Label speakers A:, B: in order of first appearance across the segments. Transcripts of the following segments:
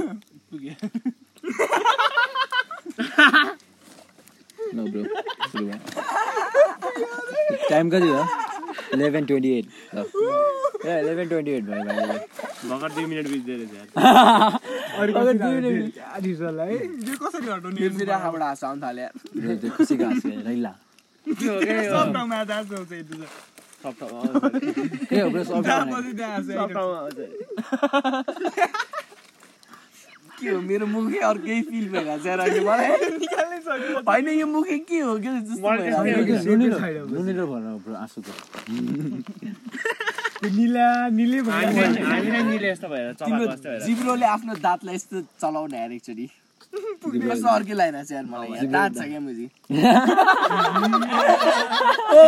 A: पुग्यो
B: No, bro. Bro. Time कति भयो इलेभेन ट्वेन्टी एट ल ए इलेभेन ट्वेन्टी एट भयो भाइ
A: भर्खर दुई मिनट बित्दै रहेछ यार। यो कसरी हटाउने
C: फेरि आँखाबाट हाँस आउनु थाल्यो
B: ब्रो, त्यो खुसी घाँस भयो, रैला
A: सब ठाउँमा आज आज आउँछ यति त।
B: के हो ब्रो सब
A: चार
B: खाने?
A: बजी त्यहाँ आउँछ
D: सब
A: अहिले।
D: ठाउँमा आउँछ।
C: के हो मेरो मुखै अर्कै फिल भइरहेको छ यार अहिले मलाई होइन यो मुखै के हो के जस्तो भइरहेको
B: के
C: छ।
B: हो, के हो? नुनिलो- नुनिलो भरेर ब्रो आँसुको
D: हामी- हामीलाई मिले जस्तो भएर चपाएको
C: तिम्रो
D: जस्तो भएर।
C: जिब्रोले आफ्नो दाँतलाई यस्तो चलाउने यार एकचोटि कस्तो अर्कै लाइन आएको छ यार मलाई यार दाँत छ क्या मुजी हो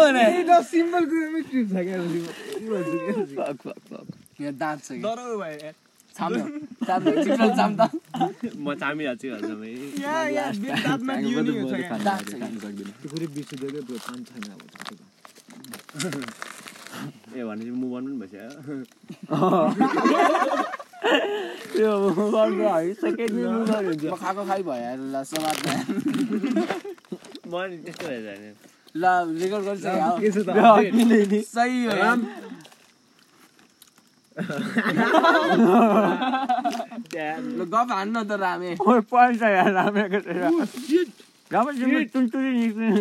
C: भने
B: Fuck, fuck, fuck.
C: यहाँ दाँत छ क्या
A: डराउ भयो यार।
C: छाम्दो छाम्दो जिब्रो छाम्दो
D: म चामिरहेको छु घरसम्म है।
A: यहाँ यहाँ
B: टाइम
A: दाँतमा दियो नि
B: गर्दै-
A: हुन्छ
B: गर्दै
A: क्या।
B: खाने,
C: दाँत छ
B: टाइम गर्दैन।
D: ए भनेपछि मुभ अन पनि भइसक्यो
B: त्यो गर्नु हामी second नै move on हुन्छ।
C: म खाएको खाइ भयो यार ल सवाद भयो।
D: म नि त्यस्तो भएर जाने।
C: ल रेकर्ड गर्छ यार।
B: ब्रो, अघिल्लै नि।
C: सही हो यार।
D: त्यहाँ-
C: ल गफ हान्न त रामे
B: ओए, पल्ट यार, राम्रोको छैन। राम्रोसँग टुनटुनी निस्किनु।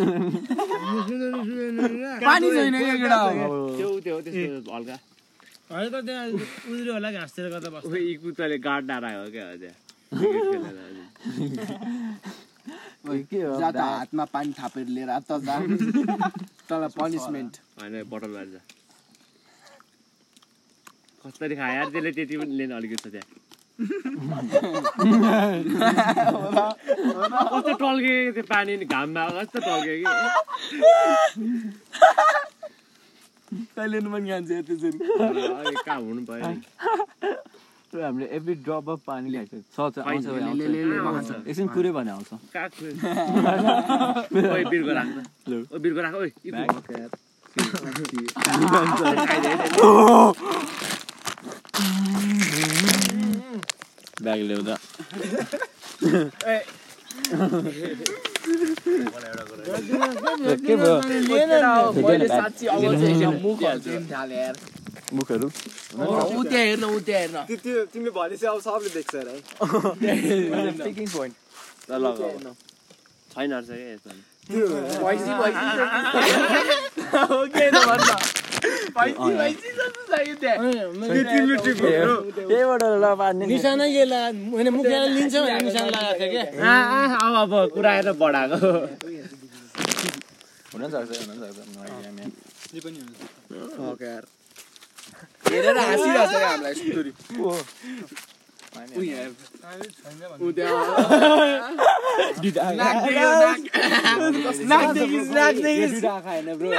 C: पानी छैन क्या केटा हो।
D: त्यो त्यो त्यस्तो हल्का
A: होइन त त्यहाँ उद्रियो होला घाँसतिर गर्दा बस्छ।
D: ओइ, यी कुत्ताले गाड डाँडाएको क्या हो त्यहाँ
B: ओए, के हो,
C: जा त
B: दाँत?
C: हातमा पानी थापेर लिएर आ त जा तल पनिसमेन्ट
D: होइन बोतल लान्छ कसरी खायो यार त्यसले त्यति पनि लिन अलिकति छ त्यहाँ कस्तो टल्के त्यो पानी नि घाममा कस्तो टल्के कि
C: कहिले पनि खान्छ यार त्यसरी
D: अलिक कहाँ हुनु पऱ्यो नि।
B: त्यो हामीले every drop of पानी ल्याएको छ, छ, आउँछ,
D: ले,
B: आउँछ।
C: ले, ले, ले,
B: आउँछ। एकछिन कुरे भने आउँछ
D: कहाँ खुल्यो? ओइ बिर्को राख न। ओइ बिर्को राख ओइ यी कुरो।
B: ब्याग ल्याउँदा के भयो
C: मैले साँच्ची अगाउ चाहिँ एकदम मुख हाल्छु थाले यार
B: मुखहरू
C: उ त्यहाँ हेर्न उ त्यहाँ हेर्न
A: तिमीले भनेपछि अब सबले देख्छ अरे है
D: ल, ल, ल, ल। छैन रहेछ क्या यस्तो
C: भैँसी भैँसी हो के त भन्न भैँसी भैँसी जस्तो छ यो त्यहाँ
B: त्यहीबाट ल पार्ने नि।
A: निशानै यो लगा- होइन मुख लगाएर लिन्छ भनेर निशान लगाएको थियो क्या।
D: आ, आ, अब अब कुरा आएर बढाएको
B: हुन सक्छ, हुन सक्छ, मलाई यहाँ यहाँ।
C: हेरेर हाँसिरहेको छ क्या हामीलाई स्टोरी eh. उ त्यहाँ नाक देख्यो, नाक। नाक देख्यो, नाक देख्यो।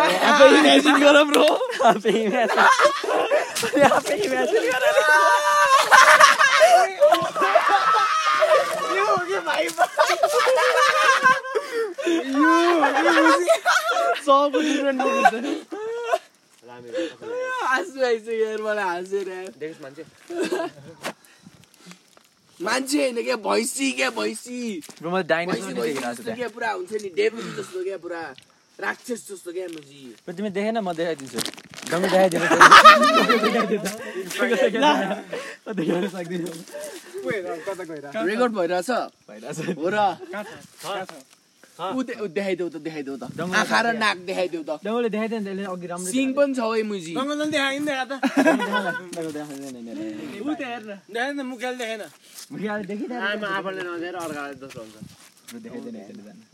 C: आफै imagine गर bro। हाँसु आइसक्यो यार, मलाई हाँसेर यार। मान्छे होइन क्या भैँसी क्या भैँसी
B: ब्रो, मैले dinosaur
C: भैँसी
B: नै देखेर आएको छु
C: भैँसी जस्तो
B: त्यहाँ।
C: क्या पुरा हुन्छ नि डेभिल जस्तो क्या पुरा राक्षस जस्तो क्या मुजी
B: ब्रो, तिमी देखेन म देखाइदिन्छु डम्मी देखाइदिनु
C: रेकर्ड भइरहेछ
B: भइरहेछ।
C: हो र ऊ दे- ऊ देखाइदेऊ त देखाइदेऊ त आँखा र नाक देखाइदेऊ त
B: डम्मीले देखाइदिएन त्यसले अघि राम्रो
C: सिङ पनि छ हौ है मुजी
A: जङ्गलमा नि देखाएको नि देखाएको त। देखाएन त, मुख हालेर देखाएन।
D: आमा आफूले नदेखेर अर्कालाई दोस्रो हुन्छ
C: ऊ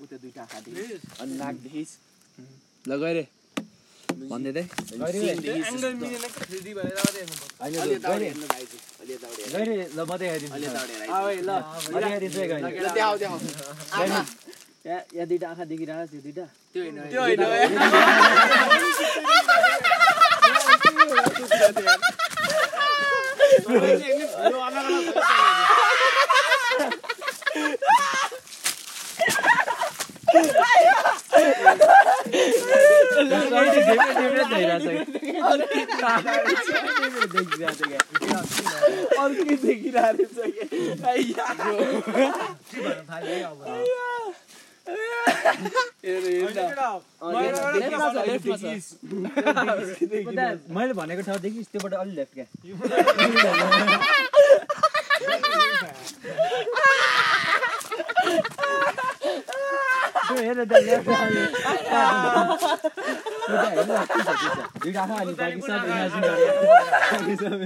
C: त्यो दुइटा आँखा देखिस् अनि नाक देखिस् ल गइ रे भन्दै दे सिङ देखिस्
A: एङ्गल मिलेन क्या, 3D भनेर अरे हेर्नु पर्छ।
C: अलि यताउति हेर्नु भाइजी, अलि यताउति
B: ल म देखाइदिन्छु ल,
C: हेर्नु। अलि यताउति हेर्नु।
B: म देखाइदिन्छु है गहिले।
C: ल देखाऊ, देखाऊ। आमा, त्यो होइन,
A: त्यो
C: होइन।
A: होइन है। यो अलग अलग भयो त।
B: ल
A: अर्कै देखिरहेको रहेछ के। आइया। लेफ्टमा छ, लेफ्टमा छ।
D: मैले भनेको ठाउँदेखि त्योबाट अलि लेफ्ट क्या त्यो हेर त्यहाँ left आले। त्यो त हेर्नु आँट्छ, त्यो त। दुइटा आँखा अनि बाँकी सब imagine गर्ने। बाँकी सब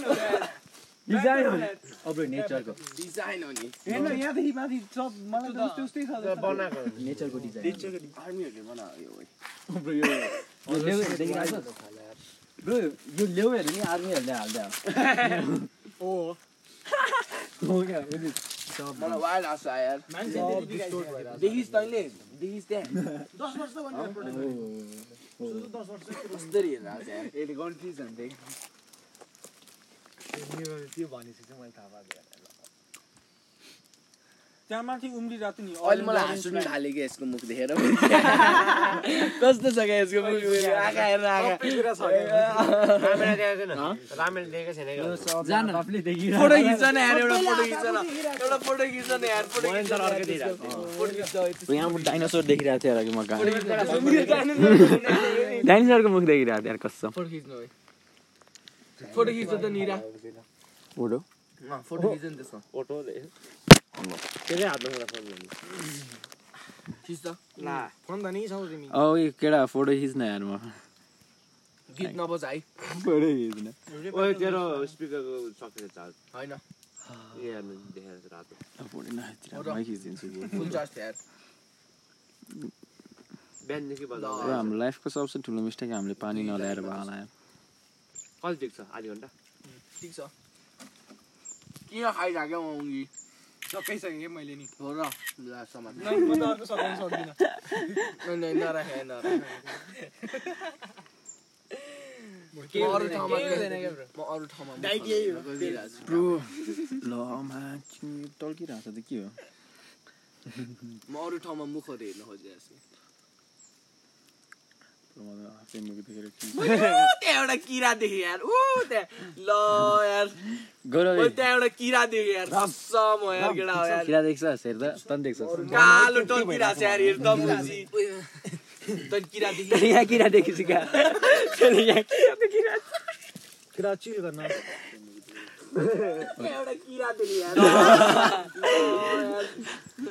D: imagine। Design हो। अब नेचरको
A: Design हो नि।
D: नेचरको डिजाइन
A: Teacher को armyहरूले बनायो यो।
D: लेउ देखिरहेको छ? ब्रो यो लेउहरू नि आर्मीहरूले हाल्दा हो क्या हो नि?
A: मलाई wild आउँछ यार। देखिस् तैँले? देखिस् त्यहाँ?
D: हो।
A: कस्तरी हेरेर आउँछ यार। यसले confusion देख्यो।
C: त्यहाँ माथि उम्रिरहेको नि
A: अहिले मलाई हाँस उठ्नु थाल्यो कि यसको मुख देखेर कस्तो छ क्या यसको मुख मेरो आँखा हेरेर आँखा
D: यो सब आफूले देखिरहेको।
A: फोटो खिच्छ न यार एउटा फोटो खिच्छ न एउटा फोटो खिच्छ न यार फोटो खिच्छ न यार, त्यसको। फोटो खिच्छ
B: यहाँबाट डाइनासोर देखिरहेको थियो अघि मका
A: फोटो
B: डाइनासोरको मुख देखिरहेको थियो यार कसम
A: खिच्नु है फोटो खिच्छ त निरा
B: फोटो
A: अँ, फोटो खिच्छ नि त्यसको खिच्छ
B: औ यो केटा फोटो खिच्न यार म
A: गीत नबज है
B: फोटो खिच्न
A: होइन
B: फोटो नखिचेर
A: फोटो।
B: मै खिचिदिन्छु कि।
A: फुल चार्ज थियो यार
B: र हाम्रो लाइफको सबसे ठुलो मिस्टेक हामीले पानी नल्याएर भए होला यार
A: ठिक छ किन खाइरहेको म उङ्गी सकिसकेँ क्या मैले नि हो र ल सामान नै नराख है नराख म अरू ठाउँमा म अरू ठाउँमा
B: ब्रो लमा टल्किरहेको छ त के हो
A: म अरू ठाउँमा मुखहरू हेर्न खोजिरहेको छु
B: मलाई आफै मुख देखेर
A: त्यहाँ एउटा किरा देखेँ यार ऊ त्यहाँ ल यार मैले त्यहाँ एउटा किरा देखेँ यार सम हो यार केटा हो यार
B: खिरा देख्छ हेर त तन देख्छ
A: कालो टल्किरा छ यार एकदम मुजी तैँले किरा देखेँ
B: यहाँ किरा देखेपछि क्या त्यसले यहाँ
D: कुरा चिल गर्न
A: त्यहाँ एउटा किरा देखेँ यार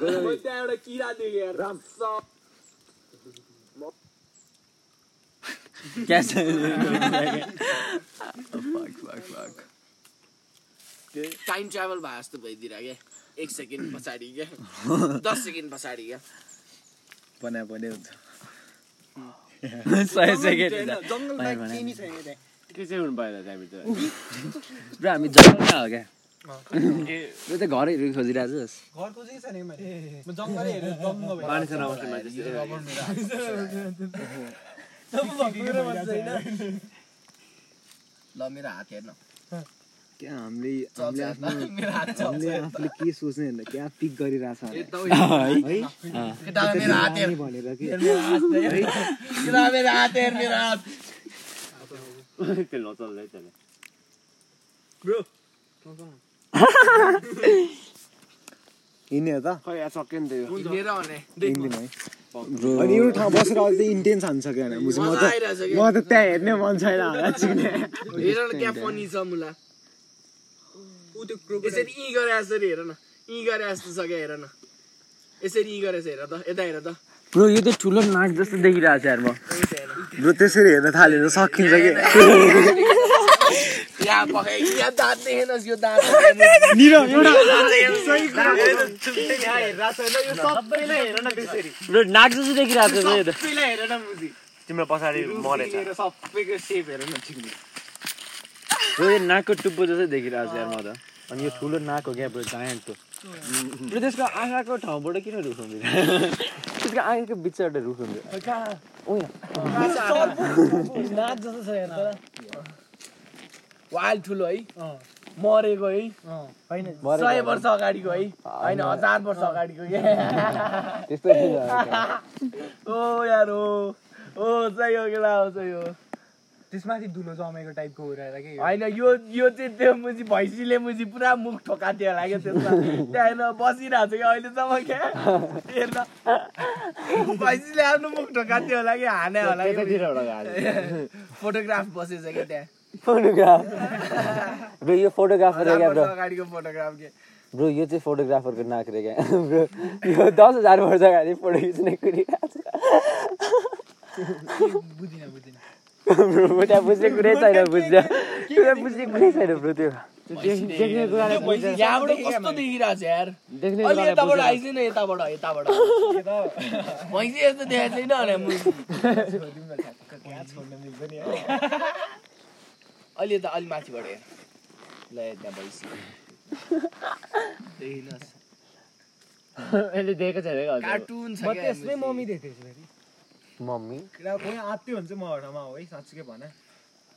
A: मैले त्यहाँ एउटा किरा देखेँ यार सम
B: क्या छ Oh, Fuck, fuck, fuck.
A: Time travel भए जस्तो भइदिएर क्या एक सेकेन्ड पछाडि क्या दस सेकेन्ड पछाडि क्या
B: बना बने हुन्छ Mm. सय सेकेन्ड हुन्छ। बना- बना-
A: E
B: ब्रो हामी जङ्गलमा हो क्या ब्रो त घरहरू खोजिरहेको छस्
A: ल मेरो हात हेर्न
D: क्या हामीले हामीले
A: चल्छ यार,
D: आफ्नो
A: मेरो हात चल्छ
D: हामीले
A: यार।
D: आफूले के सोच्ने भन्दा क्या पिक गरिरहेछ
A: ए,
D: है
A: तपाईँ-
B: है?
A: केटा, मेरो हात हेर
D: रानी भनेर के
A: केटा, मेरो हात हेर मेरो हात
D: हिँड्ने हो त
A: हिँडेर भने
D: हिँड्दिन है अनि एउटा ठाउँ बसेर अझै इन्टेन्स हानिसक्यो भने मुझे म
A: मजा
D: त
A: आइरहेछ
D: म
A: क्या
D: त त्यहाँ हेर्ने मन छैन होला चिने
A: हेर न क्या फनी छ मुला यसरी यहीँ गरे यसरी हेर न यहीँ गरे जस्तो छ क्या हेर न यसरी यहीँ गरेछ हेर त यता हेर त
B: ब्रो यो त ठुलो नाक जस्तो देखिरहेको छ यार म
A: यता हेर।
D: ब्रो त्यसरी हेर्न थाल्यो भने सकिन्छ कि
A: या भए या दाँत देखेनस् यो दाँत देखेनस्।
B: ब्रो नाक जस्तो देखिरहेको छ यो त
E: तिम्रो पछाडि मरेछ
B: ब्रो यो नाकको टुप्पो जस्तो देखिरहेको छ यार म त
D: अनि यो ठुलो नाक हो क्या ब्रो जायन्टको
B: ब्रो त्यसको आँखाको ठाउँबाट किन रुख हुँदैन त्यसको आँखाको बिचबाट रुख हुन्छ
D: नाक जस्तो छ हेर्न
A: वाल ठुलो है
C: मरेको है
A: होइन e
C: सय वर्ष अगाडिको है होइन हजार वर्ष अगाडिको के
B: त्यस्तै
C: ओ यार हो ओ सही हो केटा हो सही हो
A: त्यसमाथि धुलो जमेको टाइपको उडाएर के हो।
C: होइन यो यो चाहिँ त्यो मुजी भैँसीले मुजी पुरा मुख ठोका दिएर लाग्यो त्यसमा त्यहाँ बसिरहेको छ कि अहिलेसम्म क्या हेर्न भैँसीले आफ्नो मुख ठोका दियो होला कि हाने होला कि फोटोग्राफ बसेछ क्या त्यहाँ
B: फोटोग्राफ ब्रो यो फोटोग्राफर हो
C: हजार
B: क्या
C: वर्ष
B: ब्रो
C: अगाडिको फोटोग्राफ के
B: ब्रो यो चाहिँ फोटोग्राफरको नाक रे क्या ब्रो यो दस हजार वर्ष अगाडि फोटो खिच्ने कुरिरहेको छ
A: बुझिनँ बुझिनँ
B: ब्रो म त्यहाँ बुझ्ने कुरै छैन बुझ्छ त्यहाँ बुझ्ने कुरै छैन ब्रो त्यो
D: देख्ने कुराले बुझ्दैन।
C: यहाँबाट कस्तो देखिरहेको छ यार
D: देख्ने कुराले
C: अलि यताबाट
D: बुझ्दैन।
C: आइसकेन यताबाट यताबाट भैँसी यस्तो देखाएको छैन होला मुजी
A: कहाँ छोड्न मिल्दैन
C: अलि यता अलि माथिबाट हेर ल हेर त्यहाँ भैँसी देखिनुहोस्
D: यसले दिएको छैन क्या हजुर।
C: कार्टुन छ
A: म
C: क्या
A: त्यसमै
C: मुजी।
A: मम्मी देख्थेँ फेरि
B: मम्मी
A: केटा कोही आत्ते हुन्छ म हटामा हो है साँच्चीकै भन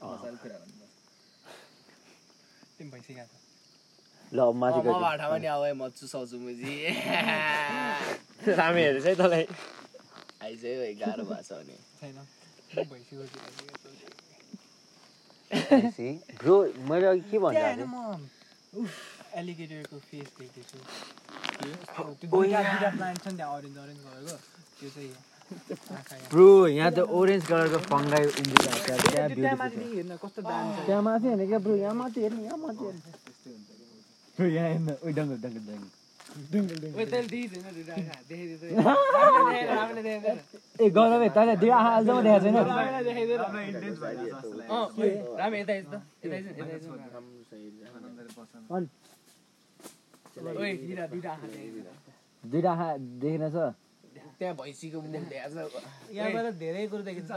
A: मजाले कुरा भन्नु तिमी भइसक्यो आज।
B: ल माथि
C: अँ, म
B: गरिदिनु।
C: भाटामा नि आऊ है म चुसाउँछु मुजी
D: सामी हेरेछ है तँलाई
C: आइसक्यो है गाह्रो भएको छ भने
A: छैन म भइसक्यो कि
B: भैँसी। ब्रो मैले अघि के भन्नु
A: त्यहाँ
B: आएको
A: होइन म उफ एलिगेटरको फेस देखेको छु त्यो दुईवटा दुईवटा प्लान्ट छ नि त्यहाँ अरेन्ज अरेन्ज कलरको त्यो चाहिँ आँखा यहाँ।
B: ब्रो यहाँ त ओरेन्ज कलरको फङ्गाई उम्रिरहेको छ त्यहाँ
A: त्यो
B: beautiful
A: त्यहाँ
B: छ।
A: माथि देखि हेर्न कस्तो दामी छ
B: त्यहाँ माथि होइन क्या ब्रो यहाँ माथि हेर्नु यहाँ माथि हेर्नु
A: ओए तैँले देखेको छैन त्यो आँखा? देखेको थिएँ तैँले। रामले देखेको छैन।
B: ए गजब है तैँले दुई आँखा अहिलेसम्म देखाएको छैन
A: रामले देखेको छैन। अँ, के? राम यता आइज त, यता आइज, यता आइज।
B: अन।
A: ओए, हिरा, दुईवटा आँखा देखेको छैन।
B: दुई आँखा देखेन छ
C: त्यहाँ भैँसीको मुख देखाएको छ
A: यहाँबाट धेरै कुरो देखिन्छ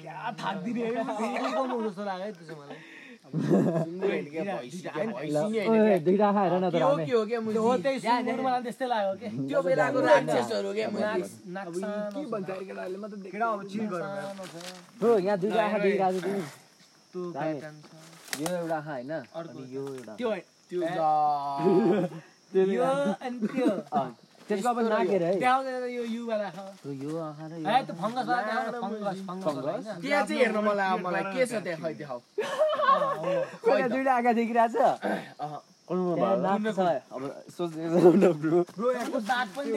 A: क्या थाक्दिने अरे म। सिक्किमको जस्तो लाग्यो है त्यसो मलाई
C: सुँगुर होइन क्या, भैँसी क्या, भैँसी नि होइन
B: ओए दुई आँखा हेर न त
C: के हो,
B: रामे
C: के हो, के मुजी?
A: हो त्यही सुँगुर मलाई त्यस्तै लाग्यो के
C: त्यो बेलाको राक्षसहरू क्या मुजी?
A: नाक्सानो छ। केटा, अब चिल गर भाइ।
B: ब्रो यहाँ दुई आँखा देखिरहेको छ तिमी
A: त्यो
B: दामी।
A: प्याटर्न छ।
B: यो एउटा आँखा होइन
A: अर्को
B: अनि यो एउटा
A: त्यो होइन।
C: त्यो ल।
A: यो अनि त्यो।
B: त्यसको अब नाक हेर है
A: देखाउँदैन त यो युवाला खाऊ।
B: ब्रो, यो आँखा र यो
A: है त्यो फङ्गस वाला देखाउन, फङ्गस, फङ्गस वाला होइन?
C: त्यहाँ चाहिँ हेर्न मन लाग्यो मलाई के छ त्यहाँ खै देखाउ
B: पहिला दुईवटा आँखा देखिरहेको छ
C: अहँ।
B: त्यहाँ नाक छ अब सोच्ने ब्रो
A: ब्रो, यहाँको दाँत पनि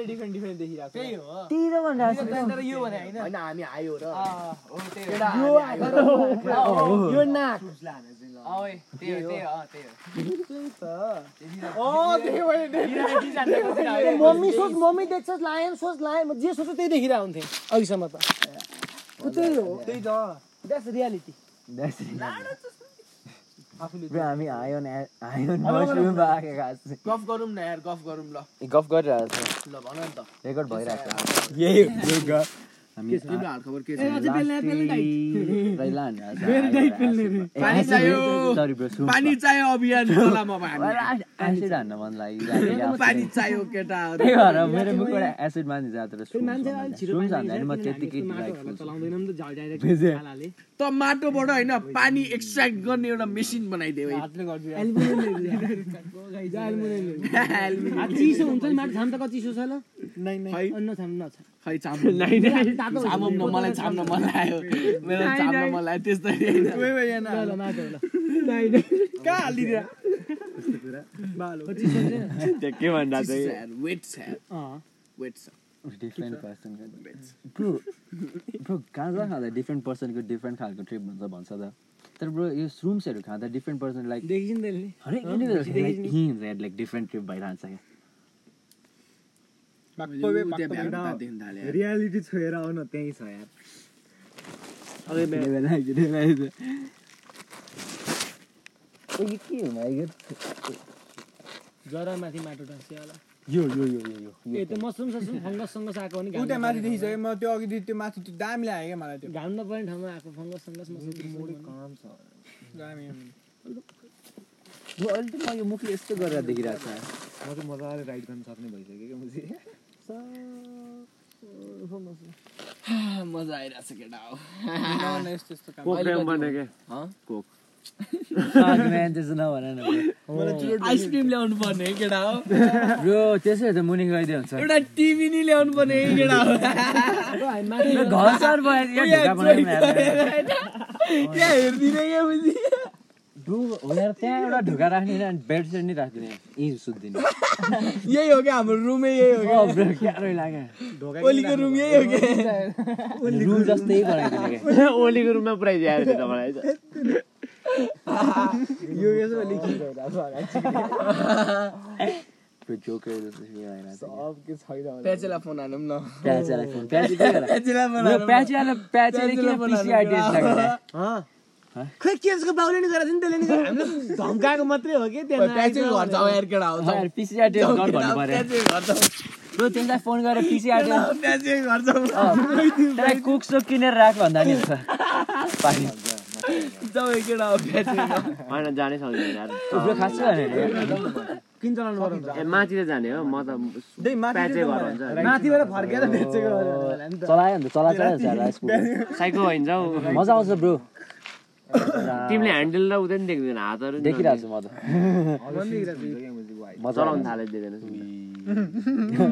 A: देखिरहेको छ। त्यही हो।
B: त्यही त भनिरहेको छु
A: तर यो भने होइन।
C: होइन हामी आयो र
A: अँ, हो, त्यही हो।
C: केटा, हामी आयो र।
B: यो नाक
A: अँ, ओए, त्यही हो, त्यही हो, अँ, त्यही हो।
B: मम्मी सोच मम्मी देख्छ लायन सोच लायन म जे सोच्छु त्यही देखिरहेको हुन्थेँ अघिसम्म त त्यही हो
A: त्यही त।
B: द्याट्स रियालिटी ब्रो हामी आयन आयन मसरुम आएको आज
C: गफ गरौँ न यार गफ गरौँ ल
B: गफ गरिरहेको छ
C: ल भन नि त
B: रेकर्ड भइरहेको छ यही ब्रो गफ हामी
C: तिम्रो हालखबर के छ पानी
B: पानी
C: चाहियो।
B: सरी ब्रो सुन
C: पानी चाहियो अभियान चलाम अब हामी
B: एसिड हान्न मन लाग्यो
C: पानी चाहियो केटा
B: त्यही भएर मेरो मुखबाट एसिड मान्छे जाँदा र सुन सुन्छ भन्दाखेरि म त्यतिकै बुझे
C: त माटोबाट होइन पानी एक्सट्र्याक्ट गर्ने एउटा मेसिन बनाइदेऊ है
F: आ, चिसो हुन्छ नि माटो छाम्दा कति चिसो छ ल
C: खै
F: नछाम्नु नछ
C: खै चाम्नु छामौँ न मलाई छाम्न मन लाग्यो मेरो छाम्न मन लाग्यो त्यस्तै होइन कहाँ हालिदिएर
D: के भन्दा
C: चिसो छ
D: चाहिँ
C: यार, wet छ यार, wet छ।
B: डिफ्रेन्ट पर्सनको ब्रो ब्रो गाँजा खाँदा डिफ्रेन्ट पर्सनको डिफ्रेन्ट खालको ट्रिप हुन्छ भन्छ त तर ब्रो यो स्रुम्सहरू खाँदा डिफ्रेन्ट पर्सन लाइक
F: देखिन्छ नि त्यसले
B: हरेक individual लाइक यहीँ हुन्छ यार, लाइक डिफ्रेन्ट ट्रिप भइरहन्छ क्या
C: ऊ त्यहाँ भ्याएर उतादेखि थाल्यो यार।
A: रियालिटी छोएर आउन त्यहीँ छ यार
B: त्यही भएर आइज, त्यही भएर आइज। ओ, यो के हो भाइ यो?
F: जरामाथि माटो टाँस्यो होला
B: यो यो यो यो यो
F: ए त्यो मसरुम ससरुम फङ्गससँग आएको भने
A: ऊ
F: घाम
A: त्यहाँ माथि देखिसक्यो म त्यो अघि त्यो माथि त्यो दामी लाग्यो क्या मलाई त्यो
F: घाम नपर्ने ठाउँमा आएको फङ्गस सङ्गस मसरुम ससरुम भन्नु।
A: दामी
B: यो अहिले त म यो मुखले यस्तो गरेर देखिरहेको छ
A: म त मजाले राइड गर्न सक्ने भइसक्यो क्या मुझे
C: मजा आइरहेको छ केटा हो
A: यस्तो यस्तो काम
D: कोक फ्रेम बन्यो के
C: हँ?
D: कोक
B: म्यान त्यस्तो नभन न Oh.
C: आइसक्रिम ल्याउनु पर्ने है केटा हो
B: ब्रो त्यसो भए त मुनि गइदियो हुन्छ
C: एउटा टिभी नि ल्याउनु पर्ने है केटा हो
B: यो घर सर भयो यो ढोका बनाउनु हामी।
C: त्यहाँ हेरिदिने क्या मुजी
B: ब्रो, हो यार, त्यहाँ एउटा ढोका राख्ने होइन, अनि बेड सेड नि राखिदिने यहीँ सुत्दिने
C: यही हो क्या हाम्रो रुमै यही हो
B: अँ, ब्रो, गाह्रै लाग्यो
C: क्या ओलीको रुम यही हो क्या
B: रुम जस्तै बनाइदिने क्या
D: ओलीको रुममा पुऱ्याइदियो आएर चाहिँ तपाईँलाई चाहिँ।
B: ब्रो, जोकै जस्तो feel आइरहेको छ क्या।
C: प्याचेलाई फोन हालौँ न
B: प्याचेलाई फोन प्याचे के गरेर?
C: प्याचेलाई फोन
B: ब्रो,
C: हालौँ न।
B: प्याचेलाई प्याचेले किन PCI test लगाएको?
F: खोइ के उसको बाउले नि गरेको थियो नि त्यसले नि गरेको हामीले त धम्काएको मात्रै हो कि त्यहाँ
C: प्याचेको घर जाउँ यार केटा हो
B: यार, PCI test गर भन्नु पर्यो।
C: प्याचेको घर जाउँ
B: ब्रो, त्यसलाई फोन गरेर PCI test-
C: प्याचेको घर जाउँ
B: अँ, त्यसलाई कोक सोक किनेर राख भन्दा नि हुन्छ पानी।
C: जाउँ है केटा हो प्याचेको घर।
D: होइन जानै सक्दैन यार।
B: ब्रो, खास के भनेर
F: किन चलाउनु पर्यो
D: ए, माथि त जाने हो म त प्याचे घर भन्छ
F: माथिबाट फर्केर बेचेको गऱ्यो होला नि त।
B: चलायो भने त चला चला झाला यसको।
D: साइको होइन हौ
B: मजा आउँछ ब्रो
D: तिमीले ह्यान्डल र उता नि देख्दैन हातहरू नि
B: देखिरहेको छु म त
D: नदेख्दैन।
B: मजा
D: चलाउन थालिदिँदैन
C: मेरो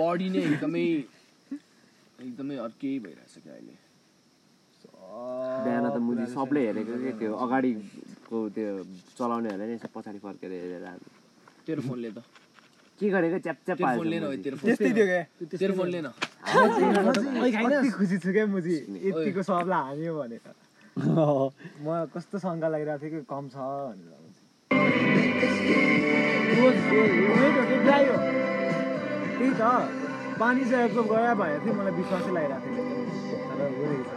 C: बडी नै एकदमै एकदमै अर्कै भइरहेछ क्या अहिले
D: बिहान त मुजी सबले हेरेको के त्यो अगाडिको त्यो चलाउनेहरूले नि यसो पछाडि फर्केर हेरेर हाल्नु।
C: तेरो फोनले त
D: के गरेको च्याप च्याप
C: तेरो
D: पारेको
C: फोनले न
D: छ
C: ओइ,
D: मुजी।
C: तेरो फोन तेरो फोनले न
F: ओइ, खाइन
G: कति खुसी छु क्या मुजी यतिको सबलाई हान्यो भनेर म कस्तो शङ्का लागिरहेको थियो कि कम छ भनेर रोज, रोज, रोज हो कि dry हो? त्यही त पानी चाहिँ एब्जर्भ गरे भनेर चाहिँ मलाई विश्वासै लागिरहेको थियो तर हुँदैन।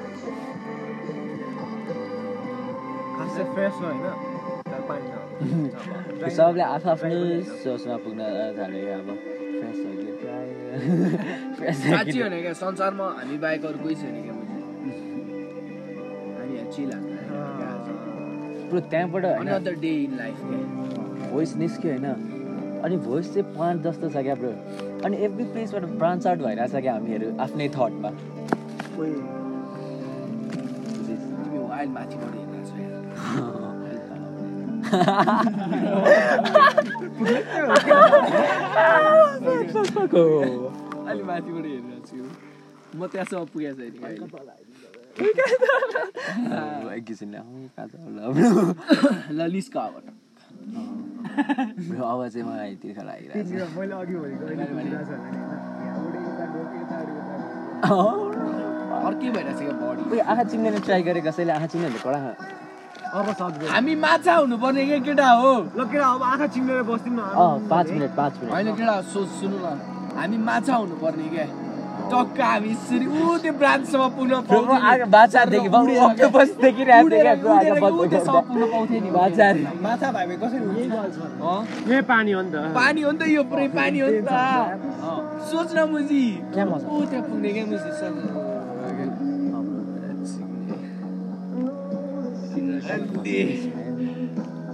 G: खासै फ्रेस हो होइन तर पानी छ
B: सबले आफ आफ्नो सोचमा पुग्न थाल्यो अब फ्रेस हो कि फ्रेस हो कि
C: साँच्ची भने क्या संसारमा हामी बाहेक अरू कोही छैन क्या मुजी। हामी यहाँ चिल
B: ब्रो, त्यहाँबाट होइन
C: अनदर डे इन लाइफ क्या
B: भोइस निस्क्यो होइन अनि भोइस चाहिँ प्लान्ट जस्तो छ क्या ब्रो अनि एभ्री प्लेसबाट ब्रान्च आउट भइरहेछ क्या हामीहरू आफ्नै थटमा
C: तिमी वाइल्ड माथिबाट हिँड्दैछ अलि माथिबाट हेरिरहेको छु म त्यहाँसम्म पुगेको छैन क्या अहिले।
B: एकछिन आउँ, कहाँ छ होला, ब्रो।
C: ल निस्क अब त।
B: ब्रो, अब चाहिँ मलाई तिर्खा लागिरहेछ
G: मैले अघि भनेको अहिले भनिरहेको छ होला नि, होइन? यहाँबाट यता गएको,
C: अर्कै
G: यताबाट उता गएको।
C: भइरहेछ क्या बडी
B: उयो, आँखा चिम्ने ट्राई गरे कसैले आँखा चिम्ने कडा खा-
G: अब सक्दैन
C: हामी माछा हुनुपर्ने क्या केटा हो
G: ल केटा अब आँखा चिम्लेर बस्दिन
B: अँ पाँच मिनट पाँच मिनट
C: होइन केटा सोच सुन्नु न हामी माछा हुनुपर्ने क्या टक्क हामी यसरी ऊ त्यो ब्रान्चसम्म पुग्न
B: ब्रो, म आगे बाछादेखि म octopus देखिरहेको थिएँ क्या, ब्रो, आगे बल्ब
C: त्यसम्म पुग्न पाउँथे नि
B: बाछा अरे।
C: अँ?
D: यही पानी हो नि त
C: पानी हो नि त यो पुरै पानी हो नि त अँ, सोच न मुजी ऊ त्यहाँ पुग्ने क्या मुजी सोच न। ए,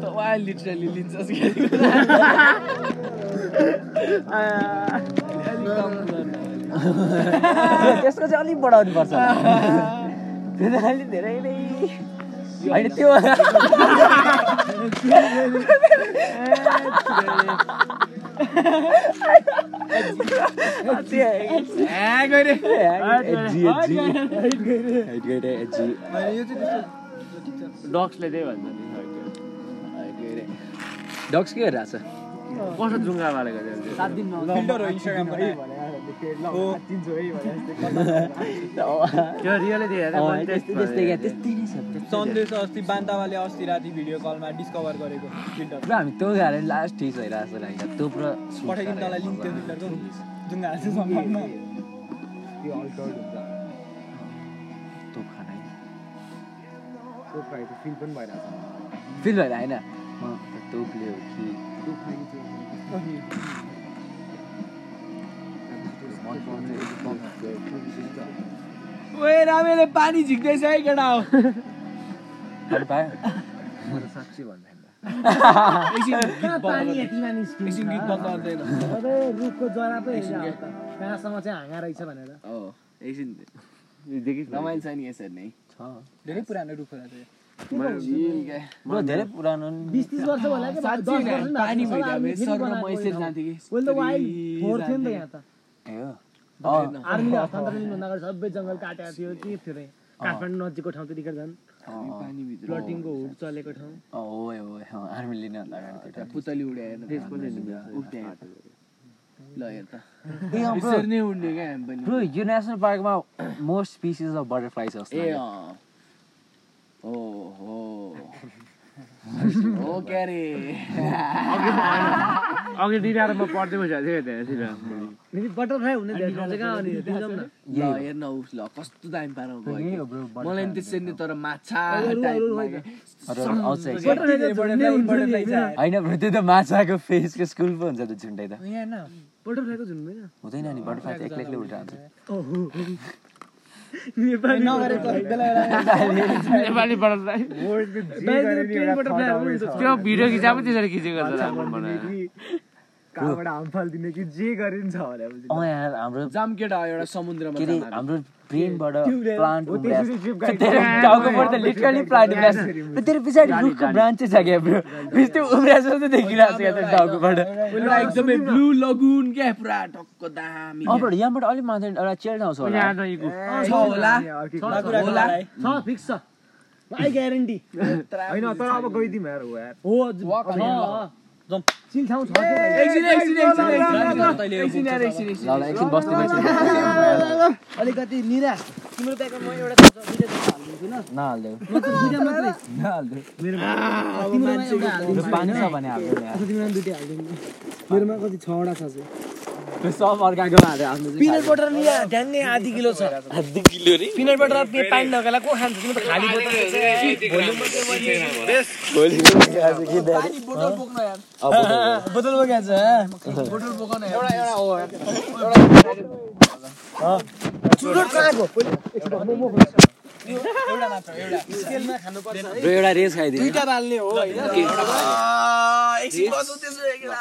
C: तपाईँ लिटरली लिन्छस् क्या अलिक कम गर्नु।
B: ब्रो, त्यसको चाहिँ अलिक बढाउनु पर्छ त्यो त अलिक धेरै नै होइन त्यो
C: ए, गरे।
D: डक्सले त्यही भन्छ नि
B: डक्स के गरिरहेको छ
D: कसो जुङ्गा पारेको थियो त्यो?
A: फिल्टर हो इन्स्टाग्राममा
D: त्यो रियलै देखेको थिएँ, मैले
B: त्यस्तै
D: टेस्ट
B: त्यस्तै क्या
D: गरेको थिएँ।
B: त्यस्तै नै छ
A: सन्देश अस्ति बान्तावाले अस्ति राति भिडियो कलमा डिस्कभर गरेको फिल्टर
B: पुरा हामी त्यो गाह्रो लास्ट ठिक भइरहेको छ लाग्यो त्यो पुरा सुट
A: पठाइदिनु तँलाई लिङ्क त्यो
B: गरेर
A: फिल्टरको जुन हाल्छु सम्पर्कमा
B: त्यो खानै
G: फिल पनि भइरहेको
B: फिल भएर होइन म त तोपले हो कि मन पराउने
C: ओए रामेले पानी झिक्दैछ है केटा हो
B: अनि पायो
C: एकछिन गीत
F: कहाँ
C: बन्द
F: पानी
C: गर्दै-
F: यतिमा निस्किन्छ?
C: एकछिन गीत बन्द गर्दैन
F: अरे रुखको जरा पो हेरेर हो त। कहाँसम्म चाहिँ हाँगा रहेछ भनेर
C: अँ, एकछिन
D: देखिस् न?
C: रमाइलो छ नि यसरी नै
B: छ
A: धेरै पुरानो रुख हो त्यो
B: ब्रो धेरै पुरानो नि।
G: बिस तिस वर्ष होला क्या दस वर्ष नि
C: पानी
G: भएको छ, हामी
C: भइरहेको
G: फेरि
C: सर र
G: बनाएको
C: म यसरी
G: होइन।
C: जान्थेँ कि
G: Well, the wild फोहोर थियो नि त यहाँ त
B: ए हो। अँ,
G: आर्मीले हस्तान्तरण भन्दा अगाडि सबै जङ्गल काटेको थियो के थियो रे काठमाडौँ नजिकको ठाउँ त्यतिखेर झन्
B: अँ, अँ,
G: प्लटिङको हुड चलेको ठाउँ
B: अँ, हो है, हो है, अँ, आर्मी लिन अगाडि त्यो टाइम।
C: पुतली उड्याएन उड्याएन ल हेर त
B: ए, अँ, ब्रो,
C: यसरी नै उड्ने क्या हामी पनि
B: ब्रो, यो नेसनल पार्कमा मोस्ट स्पिसिस अफ बटरफ्लाइज जस्तो
C: ए
B: लाग्यो।
C: अँ ओ हो हो क्या रे
D: अघि दुइटा म पढ्दै बसिरहेको थिएँ त्यहाँतिर
G: फेरि बटरफ्लाई हुने धेरै ठाउँ छ कहाँ अनि त्यहाँ जाउँ न
C: ल हेर्न उस ल कस्तो दामी पारा गयो
B: यही
C: क्या।
B: हो, ब्रो,
C: मलाई
B: butterfly
C: नि त्यसरी नै तर माछा
G: अरू-
C: type
G: अरू-
C: लाग्यो।
B: अरू- अरू outside।
A: बटर
G: बटरफ्लाई त झुन्डै हुन्छ नि, होइन?
B: होइन ब्रो त्यो त माछाको फेसको स्कुल पो हुन्छ त झुन्डै त
A: यहाँ न
G: बटरफ्लाईको झुन्डै न
B: हुँदैन नि बटरफ्लाई त एक्लै एक्लै उल्टा
G: ओहो। नेपाली
A: नगरेको बेला
D: नेपाली पढ्दै
G: बाहिरतिर plain butterfly हरू हुन्छ।
D: त्यो भिडियो खिचाएको त्यसरी खिचेको छ राम्रो बनाएर
G: कहाँबाट हामफाल दिने कि जे गरिन्छ भने अब
B: अँ यहाँ हाम्रो
C: जामकेटा एउटा समुद्रमा
B: के अरे
C: जामाको।
B: हाम्रो ब्रेनबाट प्लान्ट
G: हो,
B: उम्रिया
G: त्यसरी जीव
B: छ।
G: गाइड
B: तेरो
G: गर्छ।
B: टाउकोबाट त लिटरली प्लान्ट उम्रिया छ। तर तेरो पछाडि रुखको ब्रान्चेस छ क्या ब्रो फेरि त्यो उम्रिया जस्तो देखिरहेको छ क्या तेरो टाउकोबाट
C: एउटा एकदमै ब्लू लगुन क्या पुरा टक्क दामी
B: अब बरु यहाँबाट अलिक माथि एउटा चेयर ठाउँ छ होला
C: छ
G: अँ,
C: होला?
G: यहाँ अर्कै कुरा।
C: छ होला?
G: छ फिक्स छ आई ग्यारेन्टी होइन तर अब गइदिउँ यार हो यार हो छ, अँ। चिल ठाउँ छ कि भाइ?
C: एकछिन एकछिन एकछिन एकछिन एकछिन यार, एकछिन एकछिन
B: ल ल एकछिन बस्ने मान्छे
G: अलिकति निराश तिम्रो ब्यागमा म एउटा छ, दुईटा छ, हालिदिन्छु न।
B: नहाल्देऊ
G: म त दुईटा मात्रै
B: नहाल्देऊ
G: मेरोमा तिम्रोमा एउटा
B: त्यो
G: हालिदिन्छु
B: पानी छ भने हाल्दैन यार।
G: अच्छा, तिम्रोमा दुईटा हालिदिन्छु मेरोमा कति छवटा छ चाहिँ।
B: त्यो सब अर्काकोमा हालेर आफ्नो चाहिँ
F: पिनट बटर नि यहाँ ध्यानै आधी किलो छ पिनट बटर त्यो पानी नखाला को खान्छ तिमी त खाली बोतल छ।
C: पानी बोतल बोक्न यार
B: अब बोतल-
F: बोतलमा क्या छ
C: बोतल बोक्न यार एउटा एउटा हो यार।
F: चुरोट कहाँको
B: ब्रो, एउटा रेस खाइदियो
F: दुईटा बाल्ने हो होइन
C: आ, एकछिन बसौँ त्यसो भए एकला।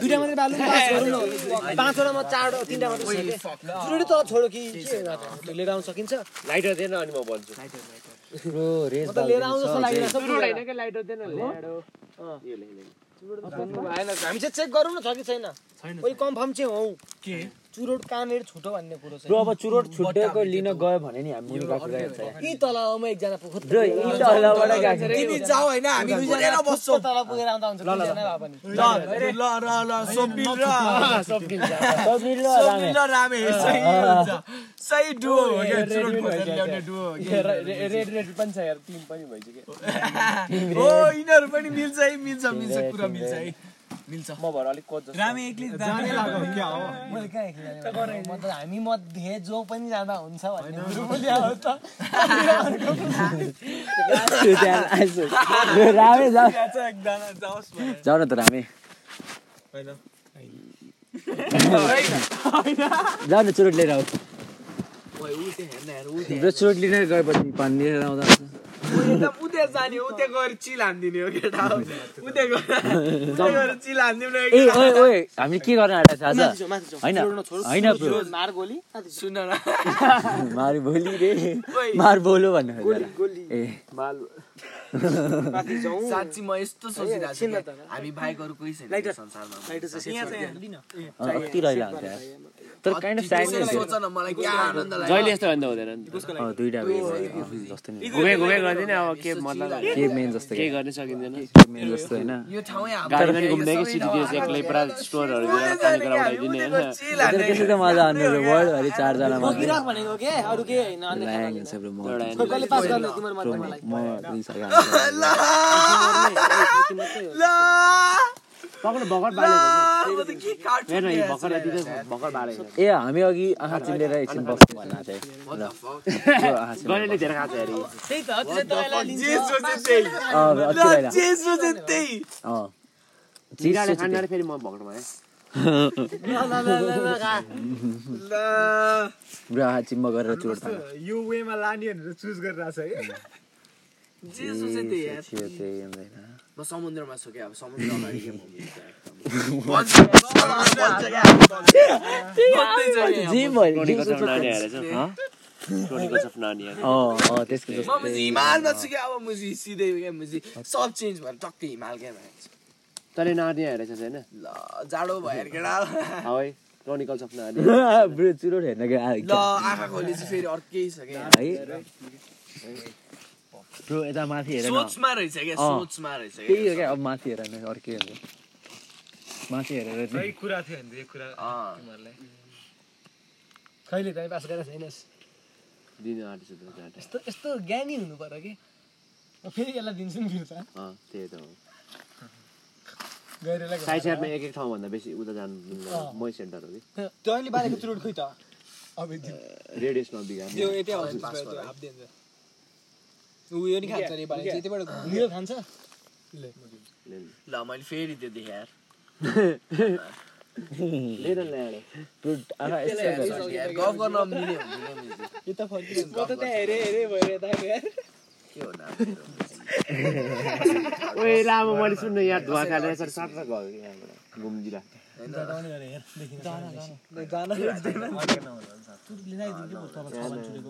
F: दुईटा मात्रै बाल्नु पाँच गरौँ न पाँचवटा म चारवटा तिनवटा मात्रै सेकेँ चुरोट तल छोडो कि के हो, त्यो लिएर आउन सकिन्छ
D: लाइटर थिएन अनि म भन्छु
B: ब्रो, रेस
F: म त लिएर आउनु जस्तो लागिरहेको छ पुरा। हामी चाहिँ चेक गरौँ न छ कि छैन कोही कन्फर्म चाहिँ हौ के चुरोट कहाँनिर छुटो भन्ने कुरो
B: ब्रो
F: चाहिँ
B: अब चुरोट छुटेको लिन गयो भने नि हामी मुनि गएको रहेछ
F: यी तलाउमा एकजना पुग्छ
B: ब्रो यी तलबाट गएको
C: तिमी जाऊ होइन हामी दुईजना बस्छौँ
F: तल पुगेर आउँदा हुन्छ दुईजना भए पनि
C: ल ल ल ल सोपिल र
B: सजिलो
C: सोपिल र रामे सही हुन्छ सही डुओ हो क्या चुरोट खोजेर ल्याउने डुओ हो क्या। हो यिनीहरू पनि मिल्छ है मिल्छ मिल्छ कुरा मिल्छ है मिल्छ रामे एक्लै जाने लाग्यो क्या हो
F: मैले कहाँ एक्लै गरेँ? म त हामी मध्ये जो पनि जाँदा हुन्छ भन्ने कुरो पनि अब त
B: त्यो त्यहाँ आएछु। ब्रो, रामे जाऊ
C: त्यहाँ चाहिँ एकजना जाओस् भनेर।
B: जाऊ न त रामे जाऊ न चुरोट लिएर आऊ ब्रो चुरोट लिन गएपछि पानी लिएर आउँदा हुन्छ।
C: एकदम उता जाने हो उता गएर चिल हानिदिने हो केटा हो। उता गएर उता गएर चिल हानिदिउँ न
B: ए
C: एकजना।
B: ओए ओए हामीले के गर्न आँटेको थाहा छ होइन होइन ब्रो
C: सुन न
B: मार भोलि रे
C: ओए।
B: मार बोलो भन्नु खोजेको। ए
C: साँच्ची म यस्तो सोचिरहेको छु कि हामी बाहेक अरू कोही छैन यो संसारमा यहाँ चाहिँ
B: अँ, अति रहिला हुन्छ यार। तर काइन्ड अफ साइड
C: त्यसरी सोच न मलाई क्या आनन्द लाग्यो
D: जहिले यस्तो भन्दा हुँदैन नि त।
B: दुइटा जस्तो नि
D: घुमे घुमे गर्दैन अब के मतलब
B: के मेन जस्तो
D: केही गर्नै सकिँदैन
B: मेन जस्तो होइन
C: यो ठाउँै हाम्रो
D: गाडीमा नि घुम्दै कि
C: सबै
D: सिटिदियो
C: ठाउँ
D: एक्लै पुरा स्टोरहरू
C: उता जाने
D: खानेकुरा
C: क्या हामी,
D: उठाइदिने होइन
C: उता गएर चिल हान्ने।
B: त्यसै त मजा आउने ब्रो वर्ल्डभरि चारजना मात्रै
F: बोकिराख भनेको के अरू के होइन अन्य खाना
B: ल्याङ हुन्छ ब्रो म
D: एउटा
F: खै कसले पास गर्ने तिम्रो
B: ब्रो,
F: मध्ये
B: म-
F: मलाई
B: म दुई सय हाल्छु।
C: ल,
D: पक्र भर्खर
C: ल,
D: बालेको
C: म त के काट्छु
D: हेर्न यो
C: यहाँ
D: भर्खर यति त भर्खर बालेको
B: ए हामी अघि आँखा चिम्लेर एकछिन बस्नु भन्नु थिएँ र ब्रो, आँखा चिम्लेर-
D: गनेले धेरै खान्छ अरे
F: त्यही त त्यसै तपाईँलाई लिन्छ
C: जे सोचे त्यही
B: अँ, ब्रो,
C: ल,
B: अति रहिला।
C: जे सोचे त्यही
B: अँ।
D: जिराले
B: चिसो
D: खानु
B: चिसो।
D: फेरि म भर्खरमा है
F: ल, ल, ल, ल, ल, खा।
C: ल
B: ब्रो, आँखा चिम्ब गरेर चुरोट खानु।
G: यो वेमा लाने भनेर चुज गरिरहेको छ है
C: जे सोचे त्यही यार।
B: चिसो त्यही हुँदैन।
C: म समुद्रमा छु क्या अब समुद्र अगाडि के म हुन्छु?
B: जे भयो, जे सोच्यो
D: नानी
B: त्यही।
D: हालेछ क्रोनिकल्स अफ नार्निया
B: अँ अँ त्यसको
C: म मुजी हिमालमा छु क्या अब मुजी सिधै क्या मुजी सब चेन्ज भएर टक्कै हिमाल क्या भएर
D: तैँले नार्निया हेरेको छैन
C: ल जाडो भयो केटा
D: हावै क्रोनिकल्स अफ नार्निया
B: जस्तो चुरोट हेर्न गयो आ-
C: ल आँखा खोलेपछि फेरि अर्कै छ क्या
B: है ब्रो यता माथि हेर न
C: सोचमा रहेछ क्या
B: अँ।
C: सोचमा रहेछ
B: त्यही हो
C: क्या
B: क्या अब माथि हेर न अर्कै हो माथि हेरेर नि।
C: अँ।
F: कहिले तपाईँ पास गरेर छैनस्
D: दिन आँटेछ त घाटा।
F: यस्तो यस्तो ज्ञानी हुनु पर्यो कि म फेरि यसलाई दिन्छु नि फिर्ता
D: अँ त्यही त हो
F: गएर यसलाई
D: साइड साइडमा एक एक ठाउँभन्दा बेसी उता जानु दिन्न।
F: अँ।
D: मै सेन्टर हो कि
F: तैँले बालेको चुरोट खोइ त अब
D: रेडियस नबिगार्नु
A: त्यो यतै हाल्दिन्छ, त्यो हापिदिन्छ। उयो नि खान्छ अरे बाहिर, यतैबाट
F: मेरो खान्छ
C: ल मैले फेरि त्यो देखाएर
D: लिएर ल्याएर
B: ब्रो, आँखा यस्तो हेर।
C: गफ गर्न मिल्यो भने मिल्यो।
A: म त त्यहाँ हेरेँ हेरेँ भएर यता गएँ।
C: के हो नाम मेरो?
D: ओए लामो मैले सुन्न याद धुवा खाएर यसरी सात गयो कि यहाँबाट घुम्जिला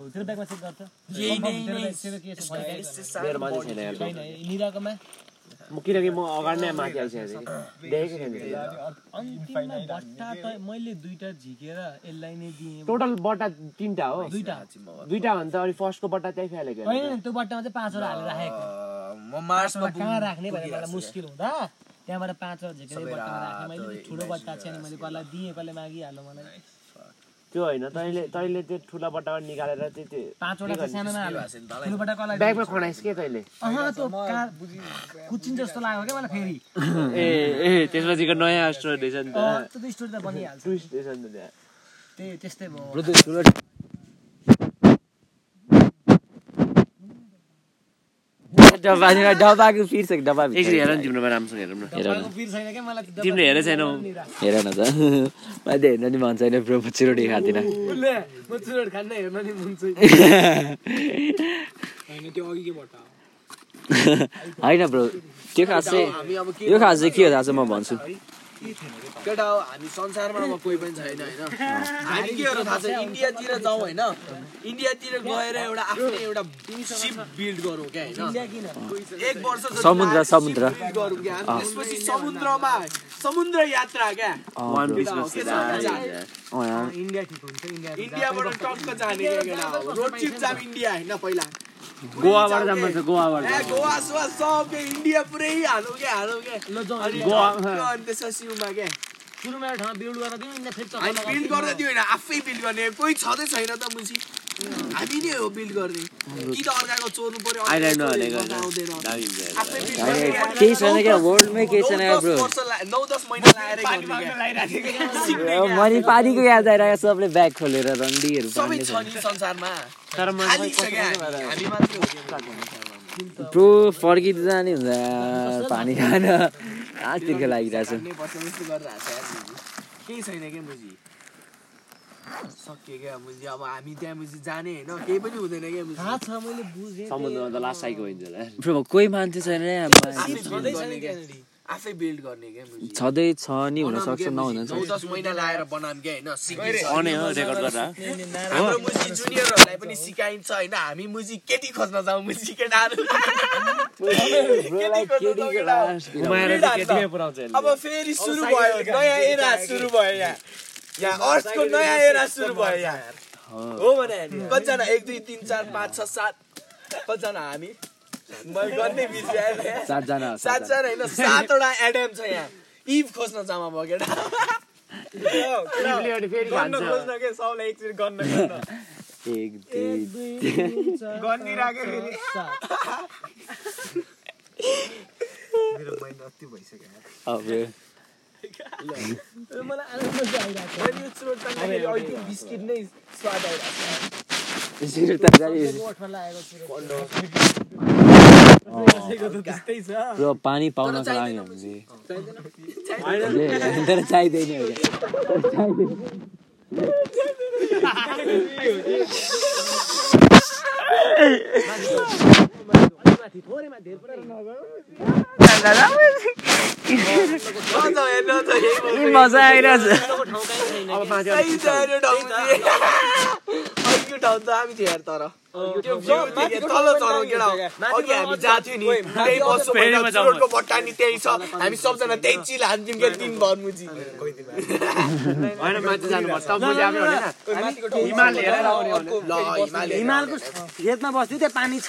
D: मेरो
C: यही नै नै यस्तै सानो
D: मात्रै छैन यार गाउँमा।
F: निराकोमा
D: म किनकि म अगाडि नै माथि आइसकेको थिएँ कि देखेको थिएँ नि
A: अन्तिममा बट्टा त मैले दुईटा झिकेर यसलाई नै दिएँ
D: टोटल बट्टा तिनवटा हो दुईवटा भन्दा अलिक फर्स्टको बट्टा त्यही फालेको
F: होइन नि, त्यो बट्टामा चाहिँ पाँचवटा हालेर राखेको
C: अँ, म मार्समा
F: अब कहाँ
C: पुग्नु-
F: राख्ने भनेर मलाई
C: पुगिरहेको छु
F: मुस्किल हुँदा त्यहाँबाट पाँचवटा झिकेर
C: सबै
F: बट्टामा राखेँ मैले
C: रातो,
F: त्यो ठुलो
C: इलायची
F: बट्टा चाहिँ मैले कसलाई दिएँ कसले मागिहाल्यो मलाई
D: त्यो होइन तैँले तैँले त्यो ठुला बट्टाबाट निकालेर त्यो त्यो
F: पाँचवटा चाहिँ सानोमा हालेँ
C: भएको छ नि तँलाई।
F: ठुलो बट्टा कसलाई
D: ब्यागमा खनाइस् के तैँले
F: अह त्यो कहाँ कुचिन्छ जस्तो लाग्यो क्या मलाई फेरि
D: ए ए त्यसपछिको नयाँ स्टोर रहेछ नि
F: अँ, त्यो त स्टोरी त बनिहाल्छ
D: टुरिस्ट रहेछ नि त त्यहाँ
F: त्यही त्यस्तै भयो
B: ब्रो, त्यो चुरोट- डब्बा- डब्बाको फिर्छ कि डब्बा
D: एकछिन हेर नि तिम्रो राम्रोसँग हेरौँ न
F: तपाईँको पिर छैन क्या मलाई त्यो
D: तिमीले हेरेको छैनौ
B: हेर न त मैले हेर्न नि मन छैन ब्रो म चिरोटी खाँदिनँ
F: म चुरोट खान्न हेर्न नि मन चाहिँ
A: होइन त्यो अघिको बट्टा हो।
B: होइन ब्रो त्यो खास चाहिँ
C: हामी अब के
B: यो खास चाहिँ के हो थाहा छ म भन्छु
C: केटा हो हामी संसारमा अब कोही पनि छैन होइन हामी के हो थाहा छ इन्डियातिर जाउँ होइन इन्डियातिर गएर एउटा आफ्नो एउटा सिप बिल्ड गरौँ क्या होइन एक वर्ष जति
B: समुद्र,
C: लागेर ship
B: समुद्र।
C: build गरौँ क्या हामी त्यसपछि समुद्रमा समुद्र यात्रा क्या
D: वान पिसको
C: के छ भने जाने।
F: इन्डिया ठिक हुन्छ इन्डिया
C: इन्डियाबाट टक्क जाने क्या केटा हो रोड ट्रिप जाम इन्डिया होइन पहिला
D: गोवाबाट जानु पर्छ गोवाबाट
C: ए गोवा सोवा सब के इन्डिया पुरै हालौँ क्या हालौँ क्या
F: ल जाउँ
C: अनि
D: गोवा,
C: टक्क अनि त्यसपछि उमा क्या
F: सुरुमा एउटा ठाउँमा बिल्ड गरेर दिउँ इन्डिया फेरि चक्कर
C: हामी
F: लगाउँछ।
C: बिल्ड गर्दै दियो होइन आफै बिल्ड गर्ने कोही छँदै छैन त मुसी हामी नै हो बिल्ड गर्ने कि त अर्काको चोर्नु पर्यो
D: आइल्यान्ड
C: अर्काको
D: हालेको
C: चोर्नु आउँदैन
D: दामी हुन्छ यार।
C: आफै build गर्ने यार।
B: केही छैन क्या वर्ल्डमै केही छैन
C: नौ दस
B: ब्रो
C: वर्ष ला- नौ दस महिना लाएर गर्ने क्या। सिक्ने क्या।
B: मैले पानीको याद आइरहेको छ, सबले ब्याग खोलेर रन्डीहरू
C: सबै
B: पार्ने
C: छ नि संसारमा
D: तर म
C: खाली छ क्या हामी हामी मात्रै हो क्या।
B: ब्रो फर्किँदै जाने हुन्छ यार, पानी खान आज तिर्ख लागिरहेछ
C: काट्नै पर्छ जस्तो गरिरहेको छ यार मुजी। केही छैन क्या मुजी सक्यो क्या मुजी अब हामी त्यहाँ मुजी जाने होइन केही पनि हुँदैन क्या मुजी
F: थाहा छ मैले बुझेँ
D: समुद्रमा त लास्ट साइको हुन्छ होला यार।
B: ब्रो कोही मान्छे छैन यहाँ
C: आफै
B: पानी-
C: build गर्ने क्या। आफै बिल्ड गर्ने क्या मुजी
B: छँदै छ नि हुनसक्छ नहुन
C: नौ दस महिना लाएर बनाम क्या होइन सिक्ने छ।
D: अनै हो रेकर्ड गर्दा
C: हाम्रो मुजी जुनियरहरूलाई पनि सिकाइन्छ होइन हामी मुजी केटी खोज्न जाउँ मुजी केटाहरू केटी खोज्न जाउँ केटा।
D: घुमाएर चाहिँ केटीमै पुऱ्याउँछ यसले।
C: अब फेरि सुरु भयो नयाँ एरा सुरु भयो यहाँ यहाँ अर्सको नयाँ एरा सुरु भयो यहाँ हो भने हामी कतिजना एक दुई तिन चार पाँच छ सात कतिजना हामी म गर्नै बिर्सेँ अहिले।
B: सातजना हो, सातजना।
C: सातजना होइन सातवटा एडम छ यहाँ इभ खोज्न जामा भयो केटा
D: इडली अनि फेरि
G: गर्न
D: खान्छ।
G: खोज्न के सबलाई एकचोटि गर्न गर्न
B: एक दुई
G: गनिरहेको फेरि
B: अँ, ब्रो
F: मलाई आनन्द चाहिँ आइरहेको
C: मैले यो चुरोट तान्दाखेरि अहिले बिस्किट नै स्वाद आइरहेको छ।
B: यसरी त
F: छ।
B: जाने-
F: ओठमा लागेको छु।
B: ब्रो पानी पाउन लाग्यो भने चाहिँ- ले, तर चाहिँदैन होला।
C: नजाऊ यहाँ, नजाऊ यही भन्नु।
B: मजा आइरहेछ
C: सही छ, अरे ढङ्गले।
A: आइक्यू ठाउँ त हामी थियो यार तर त्यो जम्मा थियो, तल चढाउँ केटा हो। अघि हामी जाएको थियौँ नि, त्यही बसको पहिला चुरोटको बट्टा नि त्यही छ। हामी सबजना त्यही चिल हान्छौँ क्या दिनभर मुजी।
D: होइन माथि जानुपर्छ तब मैले आफै भने न, हिमाल हेरेर आउने भने।
A: ल, हिमाल हेरेर
H: हिमालको खेतमा बस्थ्यो त्यहाँ पानी छ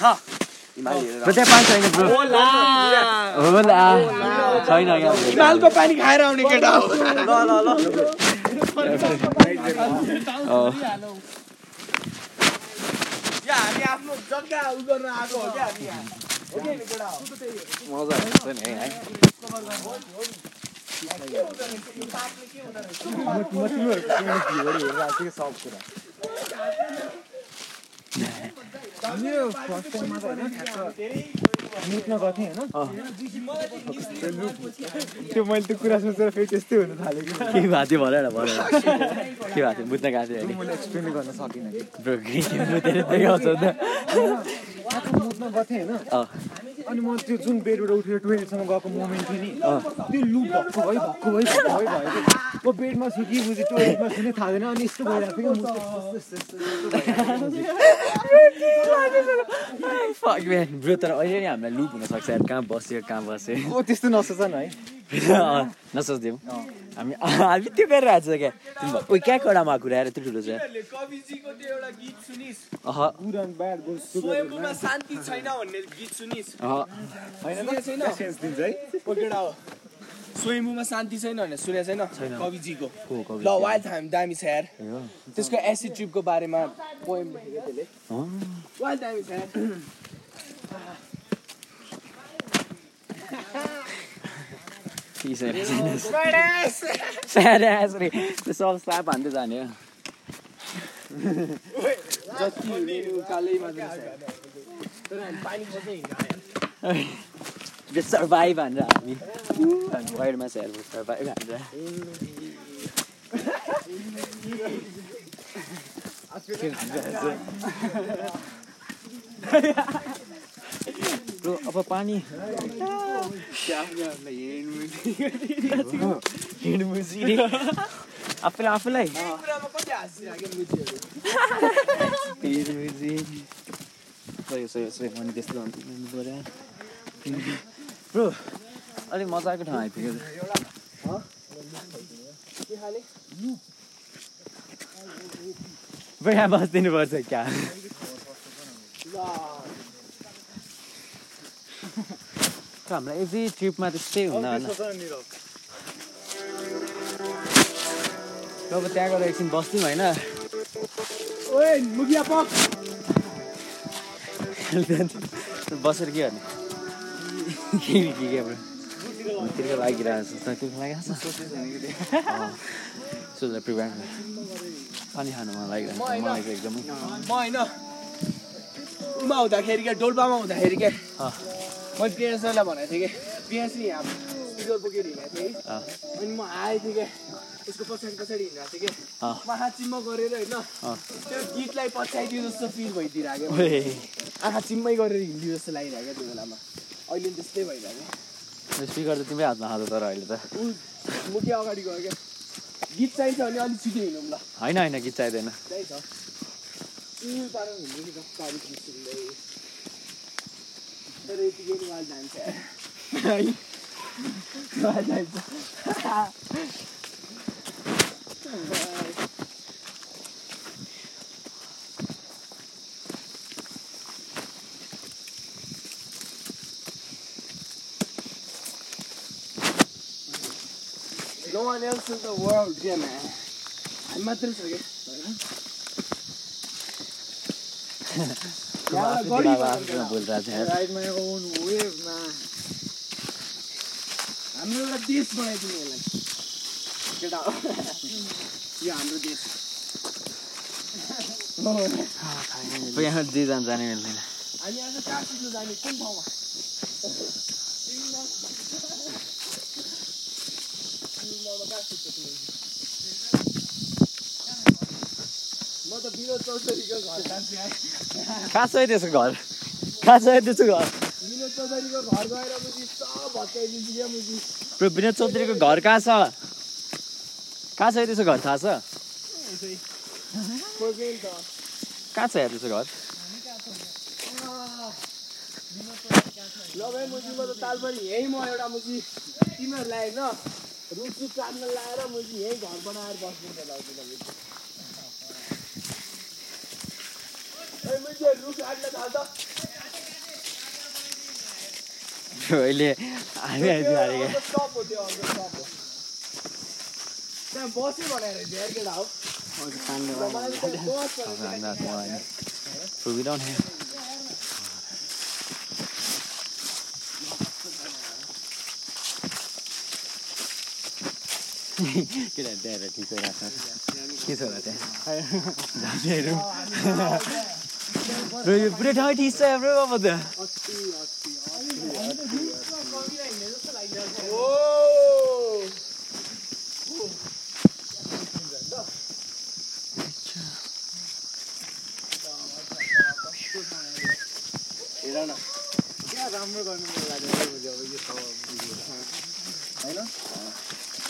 B: ब्रो त्यहाँ पानी छैन ब्रो होला छैन क्या
A: हिमालको पानी खाएर आउने केटा हो
H: ल ल ल
A: या हामी आफ्नो जग्गा उ गर्न आएको हो क्या हामी यहाँ। हो कि होइन केटा हो?
G: यो फर्स्ट टाइममा त होइन ठ्याक्क मिटमा गएको थिएँ होइन त्यो मैले त्यो कुरा सोचेर फेरि त्यस्तै हुन थालेको
B: के भएको थियो भन न भन न। के भएको थियो बुझ्न गएको थियो
G: मैले एक्सप्लेन गर्न सकिनँ कि
B: ब्रो के के बुझेर देखाउँछ नि त।
G: ठ्याक्क मुटमा गएको थिएँ होइन
B: अँ।
G: अनि म त्यो जुन बेडबाट उठेर टोइलेटसम्म गएको मोमेन्ट थियो नि त्यो लुप भक्कु भई भक्कु भई भक्कु भई भयो कि म बेडमा छु कि बुझेँ टोइलेटमा छु नि थाहा छैन अनि यस्तो भइरहेको थियो कि मुख यस्तो- यस्तो- यस्तो- यस्तो- यस्तो भइरहेको थियो।
B: Fuck, man. ब्रो तर अहिले नि हामीलाई लुप हुनसक्छ यार कहाँ बस्यो कहाँ बस्यो
G: ओ त्यस्तो नसोच न है
B: अँ, नसोचिदिउँ हामी हामी त्यो गरिरहेको छ क्या तिमी ओइ कहाँ कडामा कुरा आएर त्यो ठुलो छ
A: तिमीहरूले कविजीको त्यो एउटा गीत सुनिस्
B: ah
G: good and bad goes
A: स्वयम्भूमा शान्ति छैन भन्ने गीत सुनिस्
B: अह
A: सुनेको छैन ओ केटा हो स्वयम्भूमा शान्ति छैन भनेर सुनेको छैन कविजीको
B: को हो कवि?
A: ल वाइल्ड हामी दामी छ यार त्यसको एसिड ट्रिपको बारेमा पोएम लेखेको थियो अरे।
B: अँ।
A: वाइल्ड दामी छ यार
B: ठिक छ, छैन। साह्रै आएछ रे। त्यो सब साप हान्दै जाने हो
A: जति हुने उकालैमा जान्छ यार। तर हामी पानी खोज्दै हिँड्छ यार।
B: त्यो सर्भाइभ भनेर हामी हामी वाइडमा छ हेर्नु सर्भाइभ भनेर ब्रो अब पानी हिँडमुजी रे। आफूलाई आफूलाई
A: यो कुरामा कति हाँसिरहेको मुजीहरू।
B: हिँडमुजी। सही हो, सही हो, सही हो। अनि त्यस्तो भन्नु पऱ्यो। ब्रो अलिक मजाको ठाउँ आइपुग्यो ब्रो यहाँ बसिदिनु पर्छ क्या हामीलाई एभ्री ट्रिपमा त्यस्तै हुँदा होला अब त्यहाँ गएर एकछिन बस्थ्यौँ होइन बसेर के गर्ने के के के ब्रो तिर्खा लागिरहेको छ त तिर्खा लागिरहेको छ अँ। सोचेर प्रिपेयर पानी खानु मन लागिरहेको छ मलाई चाहिँ एकदमै
A: म होइन उमा हुँदाखेरि क्या डोल्पामा हुँदाखेरि क्या
B: अँ।
A: मैले पिएस सरलाई भनेको थिएँ कि पिएस नि यहाँ स्पिकर बोकेर हिँडेको थिएँ कि
B: अँ।
A: अनि म आएको थिएँ क्या त्यसको पछाडि पछाडि हिँडेको थिएँ कि
B: अँ।
A: आँखा चिम्म गरेर होइन
B: अँ।
A: त्यो गीतलाई पछ्याइदियो जस्तो फिल भइदिरहेको क्या।
B: ओए,
A: आँखा चिम्मै गरेर हिँडिदियो जस्तो लागिरहेको क्या त्यो बेलामा अहिले नि त्यस्तै भइरहेको क्या।
B: यो स्पिकर त तिम्रै हातमा खाँदो तर अहिले त
A: ऊ मुखी अगाडि गयो क्या गीत चाहिन्छ भने अलिक छिटो हिँडौँ ल
B: होइन होइन गीत चाहिँदैन
A: त्यही छ ऊ पारा हुन्थ्यो नि त तारिख निस्किँदै तर यतिकै नि वाल जान्छ है वाल जान्छ No one else in the world, yeah, man. हामी मात्रै छ क्या
B: म आफ्नै दिमागमा आफ्नै बोलिरहेको छु यार।
G: राइटमा एउटा ओन वेभमा
A: हाम्रो एउटा देश बनाइदिनु होला केटा हो। यो हाम्रो देश
B: अब यहाँ जे जान जानै मिल्दैन
A: हामी आज कहाँ सिक्नु जाने कुन ठाउँमा म त विनोद चौधरीको घर जान्छु यार
B: कहाँ छ है त्यसको घर कहाँ छ है त्यसको घर
A: विनोद चौधरीको घर गएर मुजी सब भत्काइदिन्छु क्या मुजी
B: ब्रो विनोद चौधरीको घर कहाँ छ कहाँ छ है त्यसको घर थाहा छ
A: खोज्दै नि त
B: कहाँ छ यार त्यसो घर
A: नभए मुजीको त ताल पनि यहीँ म एउटा मुजी तिमीहरूलाई होइन रुचु काममा लाएर मुजी यहीँ घर बनाएर बस्नु मुजी रुख काट्न थाल्छ
B: अहिले हामी आइदिनु हारेको
A: अर्को stop हो त्यो अर्को stop हो त्यहाँ बस्यो भनेर हेर केटा हो रमाइलो चाहिँ बस भनेर
B: हामी हातमा होइन पुगिरहनु थियो। केटा त्यहाँबाट ठिक भइरहेको छ के छ होला त्यहाँ झाँटीहरू र यो पुरै ठाउँ ठिक छ हाम्रो अब त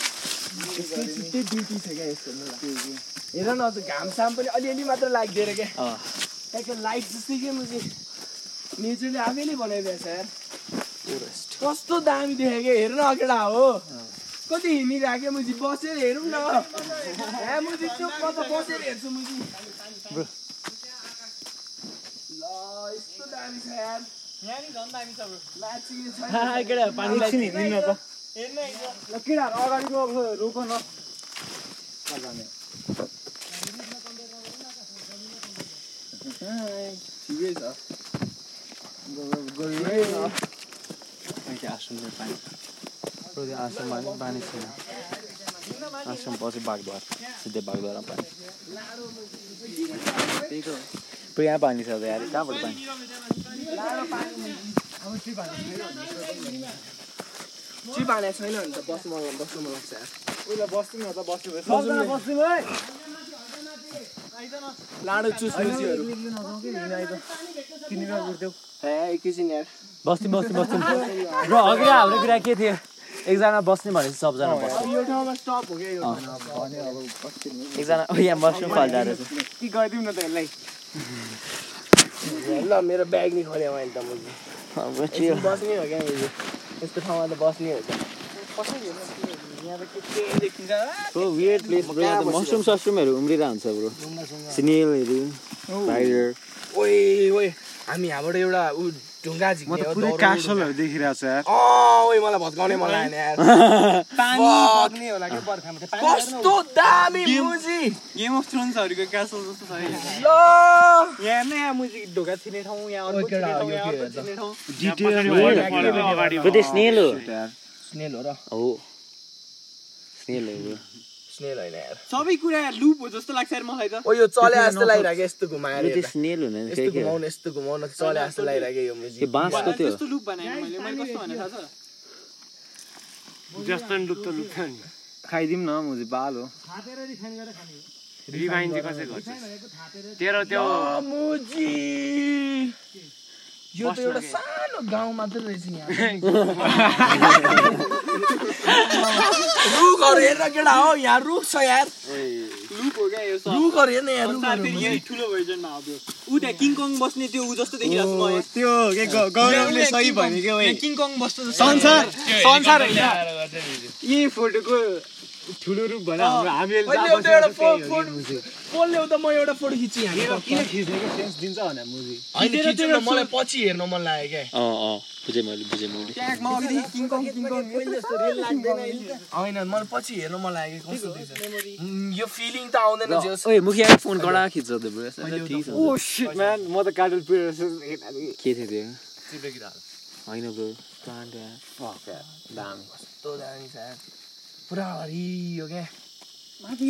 A: छुट्टै ड्युटी छ क्या यसको मलाई हेर न त्यो घामसाम पनि अलिअलि मात्र लाग्दैन क्या
B: अँ।
A: एक लाइट जस्तै क्या मुझे नेचरले आफैले बनाइदिएछ यार कस्तो दामी देखेँ क्या हेर न अकेडा हो कति हिँडिरहेको क्या मुझी बसेर हेरौँ न यहाँ मुझी चुप म त बसेर हेर्छु मुझी ल यस्तो दामी छ यार
D: यहाँ नि झन् दामी छ ब्रो
A: लाचिने छैन
C: एकछिन हिँड्दिनँ त
D: हेर्न हिजो
C: ल केटाहरू अगाडिको अब रोक न
A: ठिकै छ
B: अहिले आश्रमले पानी र त्यो आश्रममा पनि पानी छैन आश्रम पछि बागद्वार सिधै बागद्वारमा पानी पुरा यहाँ पानी छ त यार कहाँबाट पानी
A: चिप हानेको छैन भने त बस्नु मन- बस्नु मन लाग्छ यार
C: सबजना बस्नु है
A: लाडो चुस मुजीहरू
C: तिनीहरू बुझ्देऊ
A: ए एकैछिन यार
B: बस्ती बस्ती बस्ती र अघि हाम्रो कुरा के थियो एकजना बस्ने भनेपछि सबजना बस्छ
A: यो ठाउँमा स्टप हो क्या यो ठाउँमा।
B: एकजना ओ यहाँ मसरुम फाल्दा रहेछ
A: के गरिदिउँ न त यसलाई ल मेरो ब्याग नि खोल्यो मैले त मुजी
B: अब चियो
A: बस्ने हो क्या मुजी यस्तो ठाउँमा त बस्ने हो क्या
B: ब्रो वियर्ड प्लेस ब्रो यहाँ त मसरुम ससरुमहरू उम्रिरहन्छ ब्रो सिनेलहरू टाइगर
A: ओए ओए हामी यहाँबाट एउटा ऊ ढुङ्गा झिक्ने हो दौरालो ढुङ्गा।
C: देखिरहेको छ यार
A: अँ, ओए मलाई भत्काउने मलाई होइन यार
D: पानी
A: Fuck.
D: बग्ने होला कि बर्खामा त पानी
A: कस्तो दामी मुजी
D: गेम अफ थ्रोन्सहरूको क्यासल जस्तो छ यो।
A: ल
D: यहाँ नै यहाँ मुजी ढोका छिर्ने ठाउँ यहाँ अर्को
A: ओके,
D: छिर्ने
A: डा,
D: ठाउँ
A: यो
D: यहाँ अर्को
A: के हो त?
D: छिर्ने ठाउँ
B: ब्रो त्यो स्नेल हो
A: स्नेल हो र
B: हो
D: Oh.
B: स्नेल हो ब्रो
A: स्नेल होइन यार
D: सबै कुरा लुप हो जस्तो लाग्छ यार मलाई त
A: ओ यो चले जस्तो लागिरहेको यस्तो घुमाएर
B: ब्रो त्यो
A: हेर्दा।
B: स्नेल हुने
A: यस्तो
B: फेरि के हो?
A: घुमाउनु यस्तो घुमाउनु चले जस्तो लागिरहेको यो मुजी
B: त्यो बाँसको त्यो
D: त्यस्तो लुप बनाएँ मैले मैले कस्तो भने थाहा छ
C: खाइदिउँ न मुझे बाल हो
A: मुजी यो त एउटा सानो गाउँ मात्र रहेछ यहाँ रुखहरू हेर्न केटा हो यहाँ रुख छ यार
D: लुप हो क्या यो सब
A: रुखहरू हेर्न यहाँ
D: अन्त
A: रुखहरू
D: फेरि यही ठुलो भर्जनमा आयो ऊ त्यहाँ किङकङ बस्ने त्यो ऊ जस्तो देखिरहेको छु म यहाँ।
C: त्यो के गौरवले सही भने के
D: यहाँ किङकङ बस्छ जस्तो
C: संसार संसार होइन
D: यी फोटोको
C: ठुलो रूप भन हाम्रो हामीले
A: मैले एउटा एउटा फो- फोटो फोन ल्याउ त म एउटा फोटो खिच्छु यहाँ
C: किन खिचेको सेन्स दिन्छ भने मुजी
A: होइन खिच्नु न, मलाई पछि हेर्न मन लाग्यो क्या
B: अँ
D: Oh,
B: अँ बुझेँ मैले बुझेँ मैले
D: ट्यागमा अघि किङकङ किङकङ यत्रो सानो किङकङ।
A: होइन मलाई पछि हेर्न मन लाग्यो कस्तो देख्छ उम्, यो फिलिङ त आउँदैन जे होस्।
B: ओए मुखिया फोन कडा खिच्छ त ब्रो ठिक छ
C: ओ सिट म्यान म त कार्टुन पिरियड
B: के थियो त्यो होइन ब्रो प्लान्ट यार
A: कस्तो दामी छ यार। पुरा हरियो क्या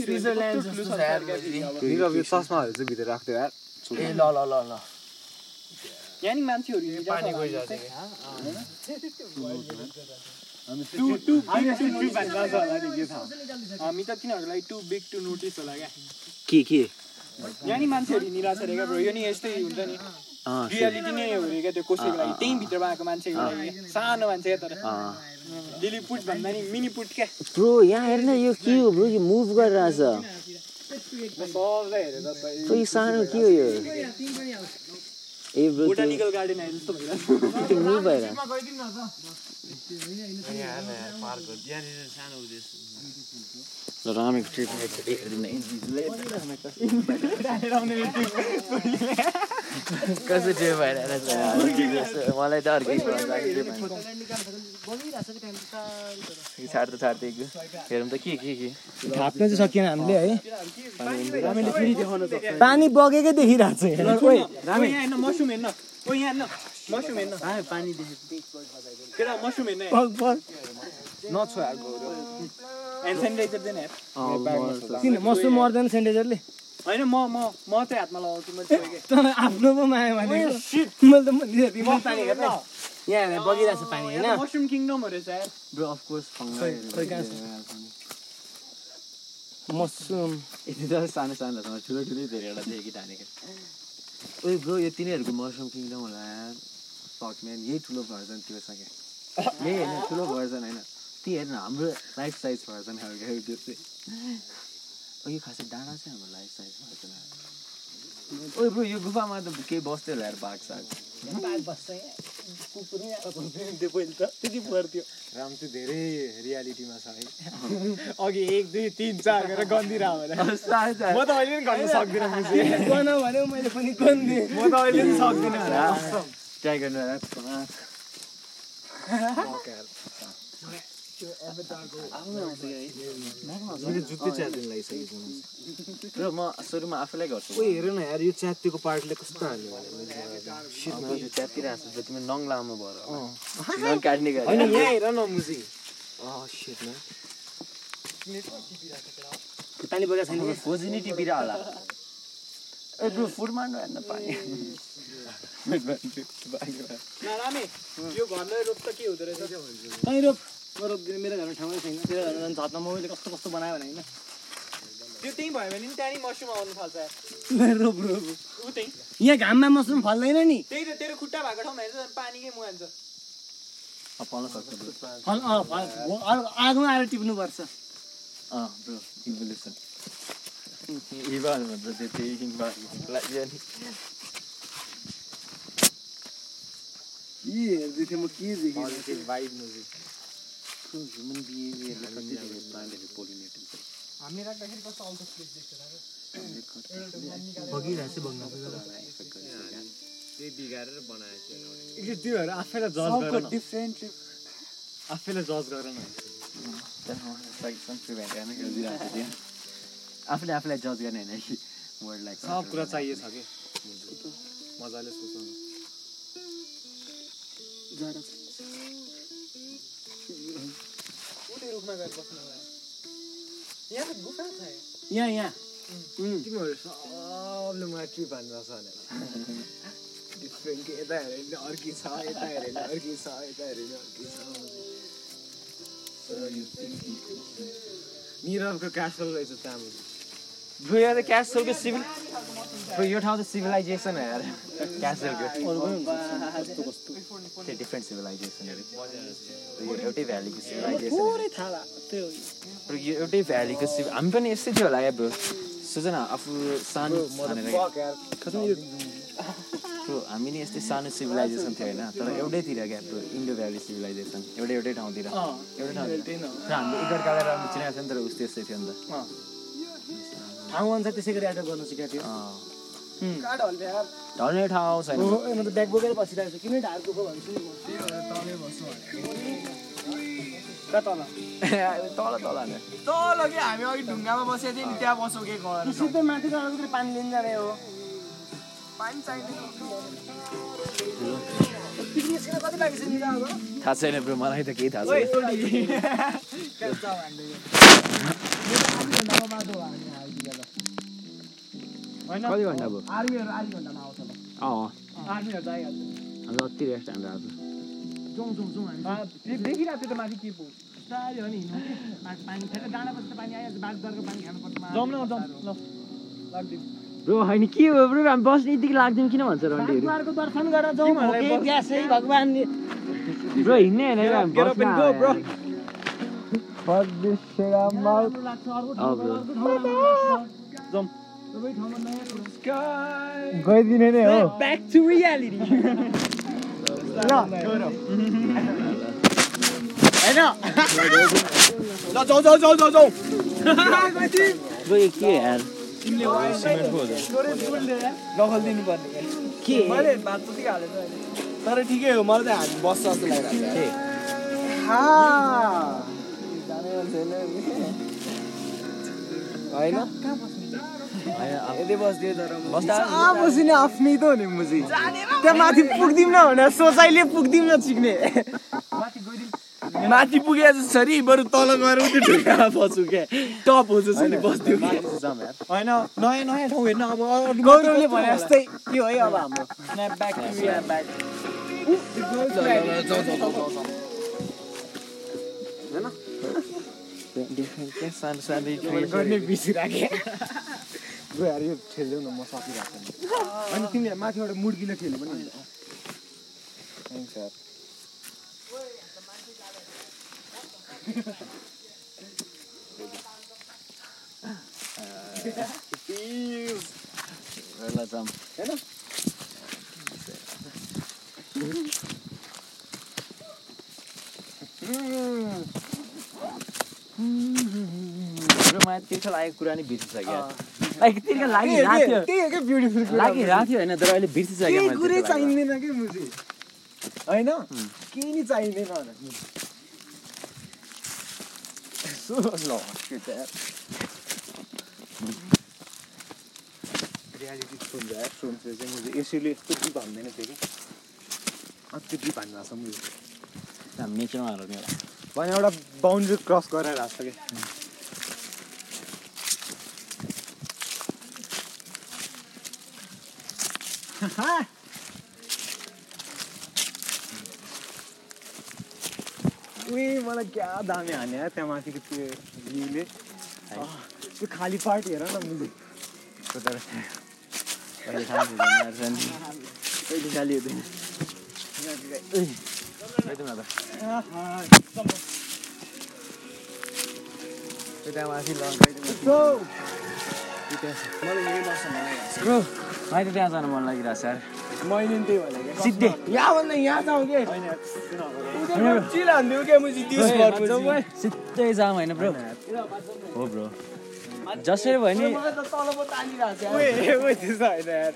A: स्विजरल्यान्ड जस्तो छ यार मुजी।
C: निरव यो चस्माहरू चाहिँ भित्र राख्थ्यो यार
A: ए ल ल ल ल
D: यहाँ नि मान्छेहरू हिँडिरहेको
A: पानी
D: होला।
A: गइरहेछ क्या
D: टु- टु big
C: हामी
D: to
C: यस्तो ट्युब
D: notice-
C: भन्ने लान्छ होला नि के थाहा
D: हामी त तिनीहरूलाई टु बिग टु नोटिस होला क्या
B: के के
D: यहाँ नि मान्छेहरू हिँडिरहेको छ अरे क्या ब्रो यो नि यस्तै हुन्छ नि
B: अँ सर
D: रियालिटी नै हो अरे क्या त्यो कसैको लागि त्यहीँ भित्रमा आएको मान्छेको लागि क्या। सानो मान्छे क्या तर
B: अँ
D: लिलिपुट भन्दा नि मिनिपुट क्या
B: ब्रो यहाँ हेर्न यो के हो ब्रो यो मुभ गरिरहेछ खोइ सानो के हो यो ए ब्रो त्यो
A: गार्डन आए जस्तो भइरहेको छ।
B: त्यो नि भएर ल रामेको ट्रिप कसरी ट्रिप भइरहेछ मलाई त अर्कै छाड्दा छाड्दै हेरौँ त के के के
F: थाप्न चाहिँ सकिएन हामीले है पानी बगेकै देखिरहेको छ हेर,
A: ओ
F: ओइ,
A: यहाँ हेर्न मसरुम हेर्न ओ यहाँ हेर्न मसरुम हेर्न पानी केटा मसरुम हेर्न
F: पग पग।
A: ह्यान्ड सेनिटाइजर दिएन हेर
F: किन मसु मर्दैन सेनिटाइजरले
A: होइन म म म चाहिँ हातमा लगाउँछु मैले छोडेँ
F: तर आफ्नो पो माया मानेको मैले त मैले तिम्रो पानी हेर्न यहाँ हेर, बगिरहेको छ पानी होइन
A: कि मसरुम किङडम हो रहेछ यार
F: खोइ कहाँ छ? मसरुम
B: यति त सानो सानो ठाउँमा ठुलो ठुलो धेरैवटा थियो कि ठानेको ओइ ब्रो यो तिनीहरूको मसरुम किङडम होला यार फक म्यान यही ठुलो भर्जन थियो सके यही होइन ठुलो भर्जन होइन ती हेर्न हाम्रो लाइफ साइज भर्जन खालको क्या त्यो चाहिँ ओ यो खासै डाँडा चाहिँ हाम्रो लाइफ साइज भर्जन हो। ओइ ब्रो यो गुफामा त केही बस्थ्यो होला यार बाघ साग
A: राम चाहिँ धेरै रियालिटीमा छ है अघि एक दुई तिन चार गरेर गन्दिरह होला म त अहिले पनि गर्न सक्दिनँ मुझे
F: बनाऊ भने मैले पनि गन्दिएँ
A: म त अहिले पनि सक्दिनँ होला।
B: टाइगर र म सुरुमा आफैलाई गर्छु
G: हेर न यार यो च्यातिको पार्टीले कस्तो हाल्यो
B: अब त्यो च्यातिर हाँस्नु त तिमी नङ लामो भएर होला। नङ काट्ने गरेर
G: यहाँ हेर न मुजी अँ सेट न
F: पानी बगेको छैन
B: हाम्रो खोजी नि टिपिरह होला ए ब्रो फुडमा नहेर्न पानी
A: नरामे यो घरलाई रोप त के हुँदो रहेछ
F: कहीँ रोप म रोप्दिनँ मेरो घरमा ठाउँै छैन तेरो घरमा झन् छतमा मैले कस्तो कस्तो बनायो भने होइन
A: त्यो त्यहीँ भयो भने नि त्यहाँ नि मसरुम आउनु थाल्छ यार
F: रोप रोप
A: ऊ त्यहीँ
F: यहाँ घाममा मसरुम फल्दैन नि
A: त्यही त तेरो खुट्टा भएको ठाउँमा हेर्छ झन् पानीकै मुहान छ
B: फल्न सक्छ ब्रो
F: फल अँ फल हो, अर्को आगोमा आएर टिप्नुपर्छ
B: अँ ब्रो इभोल्युसन इभाल भन्छ त्यो त्यही इन्भाइरोमेन्टको लागि हो नि
G: यी हेर्दै थिएँ म के देखेँ
B: ह्युमन बिहेभियरले कति धेरै प्लान्टहरू पोलिनेट हुन्छ
A: हामीले राख्दाखेरि कस्तो आउँछ प्लेस देख्छ
G: त्योहरू आफैलाई जज
A: सबको डिफ्रेन्ट
G: आफैलाई जज गर न
B: आफूले आफूलाई जज गर्ने होइन कि वर्ल्डलाई
G: सब कुरा चाहिएको छ कि मजाले सोच्नु
A: ऊ त्यो रुखमा गएर बस्नु होला। यहाँ त गुफा छ यार।
F: यहाँ यहाँ
G: तिमीहरू सबले मलाई के भन्नुभएको छ भनेर डिफ्रेन्ट के यता हेऱ्यो भने अर्की छ यता हेऱ्यो भने अर्की छ यता हेऱ्यो भने अर्की छ निरवको क्यासल रहेछ तामा
B: ब्रो यहाँ त क्यासलको सिभिल ब्रो यो ठाउँ त सिभिलाइजेसन हो यार क्यासलको त्यो डिफ्रेन्ट सिभिलाइजेसनहरू यो एउटै भ्यालीको सिभिलाइजेसन
F: पुरै थाहा त्यो
B: ब्रो यो एउटै भ्यालीको सिभ हामी पनि यस्तै थियो होला या ब्रो सोच न आफू सानो भनेर ब्रो हामी नि यस्तै सानो सिभिलाइजेसन थियो होइन तर एउटैतिर क्या ब्रो इन्डो भ्याली सिभिलाइजेसन एउटै एउटै ठाउँतिर एउटै ठाउँतिर र हामीले एकअर्कालाई राम्रो चिनाएको थियो नि तर उस्तो यस्तै थियो नि त
F: ठाउँ अनुसार त्यसै गरी एटक गर्नु सिकेको थियो
B: अँ।
A: काठ हल्ले यार।
B: ढल्ने ठाउँ छैन
F: हो ए, म त ब्याग बोकेर बसिरहेको छु किन ढाड दुःख भन्छु नि म।
A: कहाँ तल?
B: तल तल होइन।
C: तल कि हामी अघि ढुङ्गामा बसेको थियौँ नि त्यहाँ बसौँ के घर
F: सिधै माथि त अलिकति पानी लिन जाने हो
C: पानी चाहिँदैन
F: पिकनिक निस्किन कति बाँकी छ नि त अब
B: थाहा छैन ब्रो मलाई त केही थाहा छैन कति घन्टा भयो
F: आर्मीहरू आधी घन्टामा आउँछ ल
B: अँ
A: Ah.
F: आर्मीहरू त आइहाल्छ
B: हाम्रो अति रेस्ट हाम्रो आज
F: जाउँ जाउँ जाउँ हामी
A: आ, दे- देखिरहेको थियो त माथि के पो
F: बिस्तारै हो नि हिँड्नु कि। माथि पानी खेर डाँडा बस्दा पानी आइहाल्छ बाँस दरको पानी खानुपर्छ माछा।
A: जाउँ न जाउँ ल लाग्दिउँ।
B: ब्रो होइन के हो ब्रो हामी बस्ने यतिकै लाग्दैन किन भन्छ रन्टीहरू
F: बाँसद्वारको दर्शन गरेर जाउँ
A: मलाई
F: भोकै
A: बस-
F: प्यासै भगवान्ले
B: ब्रो हिँड्ने होइन
A: Get
B: हामी
A: up, get up
B: बस्न
A: and go, bro.
B: आयो।
F: राम्रो लाग्छ, अर्को ठाउँ
B: अँ,
F: अर्को ठाउँ राम्रो लाग्छ।
G: जाउँ
A: गइदिने नै हो
F: ब्याक टु रियालिटी
C: ल जाउँ जाउँ जाउँ जाउँ जाउँ
D: के यार
C: नखलिदिनु पर्ने
F: के
C: मैले भात जति हालेको होइन। तर ठिकै हो मलाई चाहिँ हामी बस्छ जस्तो लागिरहेको छ हा। जाने मान्छे होइन नि। होइन यतै बस्दियो तर म-
G: कहाँ बसिने आफ्नै त हो नि मुजी त्यहाँ माथि पुग्दिम न भनेर सोचाइले पुग्दिम न चिक्ने
C: माथि पुगे जस्तो छ नि बरु तल गएर उति ढुङ्गामा बस्छु क्या टप हो जस्तो नि बस्थ्यो कि।
G: होइन नयाँ नयाँ ठाउँ हेर्न अब अरू-
F: गौरवले भने जस्तै के हो है अब हाम्रो
G: गर्ने बिर्सिराखे गयो यार यो खेल्दैउ न म सकिरहेको छु अनि तिमीले माथिबाट मुर्किन खेल्नु पनि हुन्छ। थ्याङ्क्स यार
B: मलाई तिर्खा लागेको कुरा नि बिर्सिसक्यो
F: लाइक तिर्खा लागिरहेको थियो
G: त्यही हो क्या ब्युटिफुल कुरा
B: लागिरहेको थियो होइन तर अहिले बिर्सिसक्यो
G: केही
B: मलाई
G: कुरै
B: तिर्खा लाग्यो।
G: चाहिँदैन कि मुझे होइन केही नै चाहिँदैन होला। रियालिटी सुन्छ यार सुन्छ चाहिँ मुझे यसैले यस्तो डिप हान्दैन थियो कि अति डिप हान्नु भएको छ मुझे
B: मेचमा हाल्ने होला।
G: भने एउटा बााउन्ड्री क्रस गरेर आएको छ कि उही मलाई क्या दामी हाने यार त्यहाँ माथिको त्यो भ्यूले अँ, त्यो खाली पार्ट हेर न मुले
B: अहिले खानु हुँदैन रहेछ नि। अहिले खाली हुँदैन। ओइ, लैजाउँ न त। यता माथि ल, लैजाउँ न। यता। ब्रो, मलाई त त्यहाँ जानु मन लागिरहेको छ यार।
G: मैले नि त्यही भनेको
B: सिद्धे।
C: यहाँभन्दा यहाँ जाउँ के उनीहरू चिल हान्थ्यो क्या मुझे दिउस गर्नु
B: सिधै जाम होइन ब्रो हो ब्रो जसरी भयो नि
G: त्यस्तो होइन यार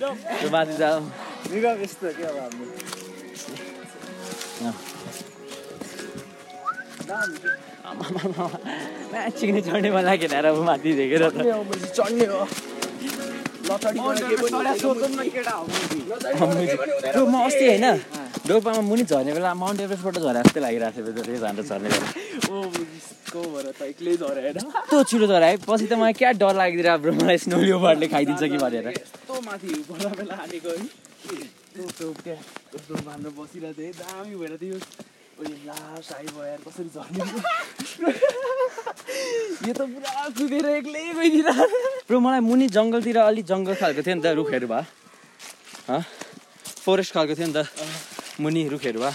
B: त्यो माथि जाऊ
G: निरव यस्तो के अब हाम्रो
B: चिक्ने चढ्ने मन लागेन यार अब माथि देखेर त
C: चढ्ने हो
A: Oh,
B: ब्रो म अस्ति होइन डोपामा मुनि झर्ने बेला माउन्ट एभरेस्टबाट झरे जस्तै लागिरहेको थियो त्यो झन्डा झर्ने बेला यस्तो छिटो झर है पछि त मलाई क्या डर लागिदिरहेको ब्रो मलाई स्नो लियोपार्डले खाइदिन्छ कि भनेर
C: यस्तो माथि बल्ल बेला हानेको है यस्तो त्यो त्यहाँ यस्तो भनेर बसिरहेको थिएँ दामी भएर थियो ओइ ला साई भयो यार कसरी झर्ने यो त पुरा कुदेर एक्लै गइदिरहेको
B: ब्रो मलाई मुनि जङ्गलतिर अलिक जङ्गल खालको थियो नि त रुखहरू भए फरेस्ट खालको थियो नि त मुनि रुखहरू भए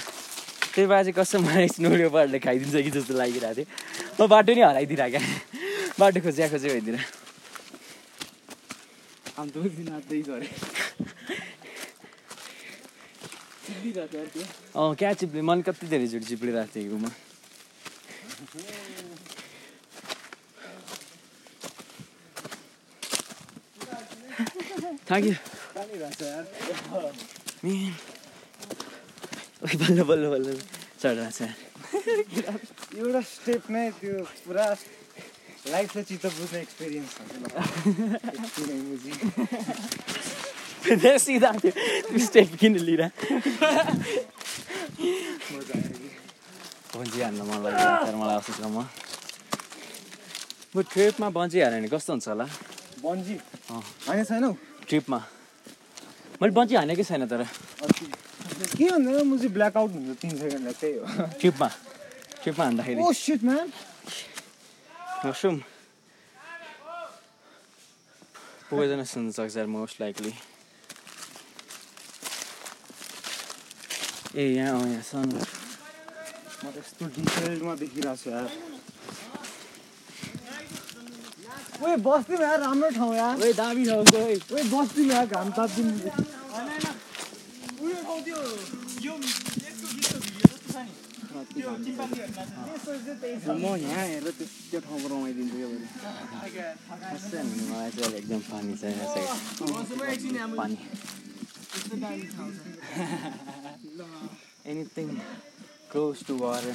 B: त्यही भएर चाहिँ कसो मलाई स्नो लियोपार्डले खाइदिन्छ कि जस्तो लागिरहेको थियो म बाटो नै हराइदिरहेको क्या बाटो खोज्या खोज्या भइदिएर
C: हाम्रो दिन नाच्दै झरे चिल्लिरहेको यार त्यो
B: अँ क्या चिप्ले मन कति धेरै झुट चिप्लिरहेको थियो घुमा थाक्यो मिन। ओइ, बल्ल बल्ल बल्ल चढिरहेको छ
G: एउटा स्टेपमै त्यो पुरा लाइफलाई चित्त बुझ्ने एक्सपिरियन्स छ कि ल। किन मुजी?
B: त्यहाँ सिधा थियो त्यो स्टेप किन लिएर बन्जी हान्न मन लाग्यो तर मलाई अफिस म बरु ट्रिपमा बन्जी हाल्यो भने कस्तो हुन्छ होला
G: बन्जी
B: अँ।
G: होइन छैनौ
B: ट्रिपमा मैले बन्ची हानेकै छैन तर
G: के भन्दैन मुजी ब्ल्याक आउट हुन्छ तिन सेकेन्डलाई त्यही हो
B: ट्रिपमा ट्रिपमा हान्दाखेरि
G: oh shit man
B: mushroom poison हुनसक्छ मोस्ट लाइकली ए यहाँ अँ यहाँ सन
G: म त यस्तो डिटेलमा देखिरहेको छु यार ओए बस्तीमा यहाँ राम्रो ठाउँ यहाँ
C: ओए दामी छ उनको ओए
G: ओए बस्तीमा यहाँ घाम ताप्दिन
I: म यहाँ हेरेर त्यो त्यो ठाउँको रमाइदिन्छु क्या बरु।
J: मलाई चाहिँ एकदम पानी चाहिरहेको छ पानी एनिथिङ क्लोज टु वाटर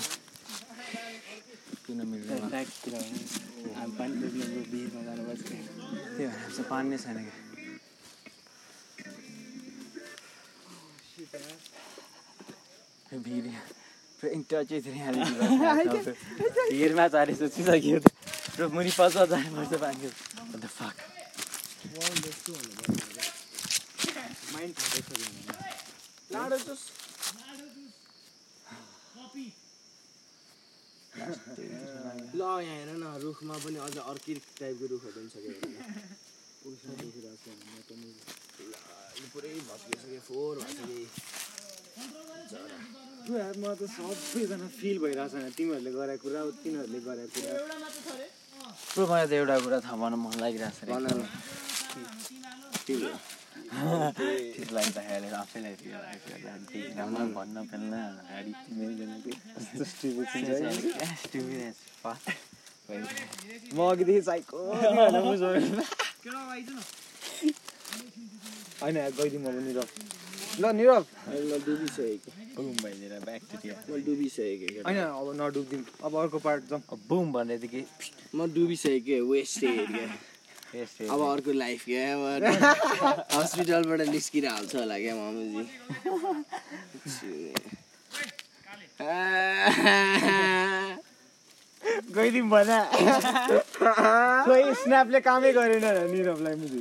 J: किन मिल्दैन
I: ट्र्याकतिर हो भने हामी पानी डुब्नु डुब्नु बिचमा जानुपर्छ क्या।
J: त्यही भएर चाहिँ पानी नै छैन क्या फेरि भिर फेरि इन्टर चाहिँ फेरि यहाँ ल्याइदिनु भिरमा झारे सोचिसक्यो र मुनि पच जानुपर्छ पानी अन्त फाक
C: ल यहाँ हेर न रुखमा पनि अझ अर्कै टाइपको रुखहरू पनि छ क्या हेर न। उल्टा देखिरहेको छ यहाँ त मैले। ल, यो पुरै भत्किसक्यो फोहोर भइसक्यो
G: म त सबैजना फिल भइरहेको छ तिमीहरूले गरेको कुरा तिनीहरूले गरेको कुरा
J: थुप्रो मलाई त एउटा कुरा थाहा भन मन लागिरहेको छ
C: बनाउनु
J: ठिक लाग्यो त हालेर आफैलाई त्यो भन्न भन्न पेल्न गाडी मिल्दैन
C: म अघिदेखि साइको
G: होइन यहाँ गइदिउँ म पनि निरव ल निरव
C: मैले डुबिसकेको म डुबिसकेको क्या।
G: होइन अब नडुब्दिउँ अब अर्को पार्ट जाउँ
J: बुम भनेदेखि
C: म डुबिसकेको क्या वेस्टेड क्या अब अर्को लाइफ क्या अब हस्पिटलबाट निस्किएर हाल्छ होला क्या मामुजी
G: गइदिउँ भन्दा खोइ स्न्यापले कामै गरेन निरवलाई मुजी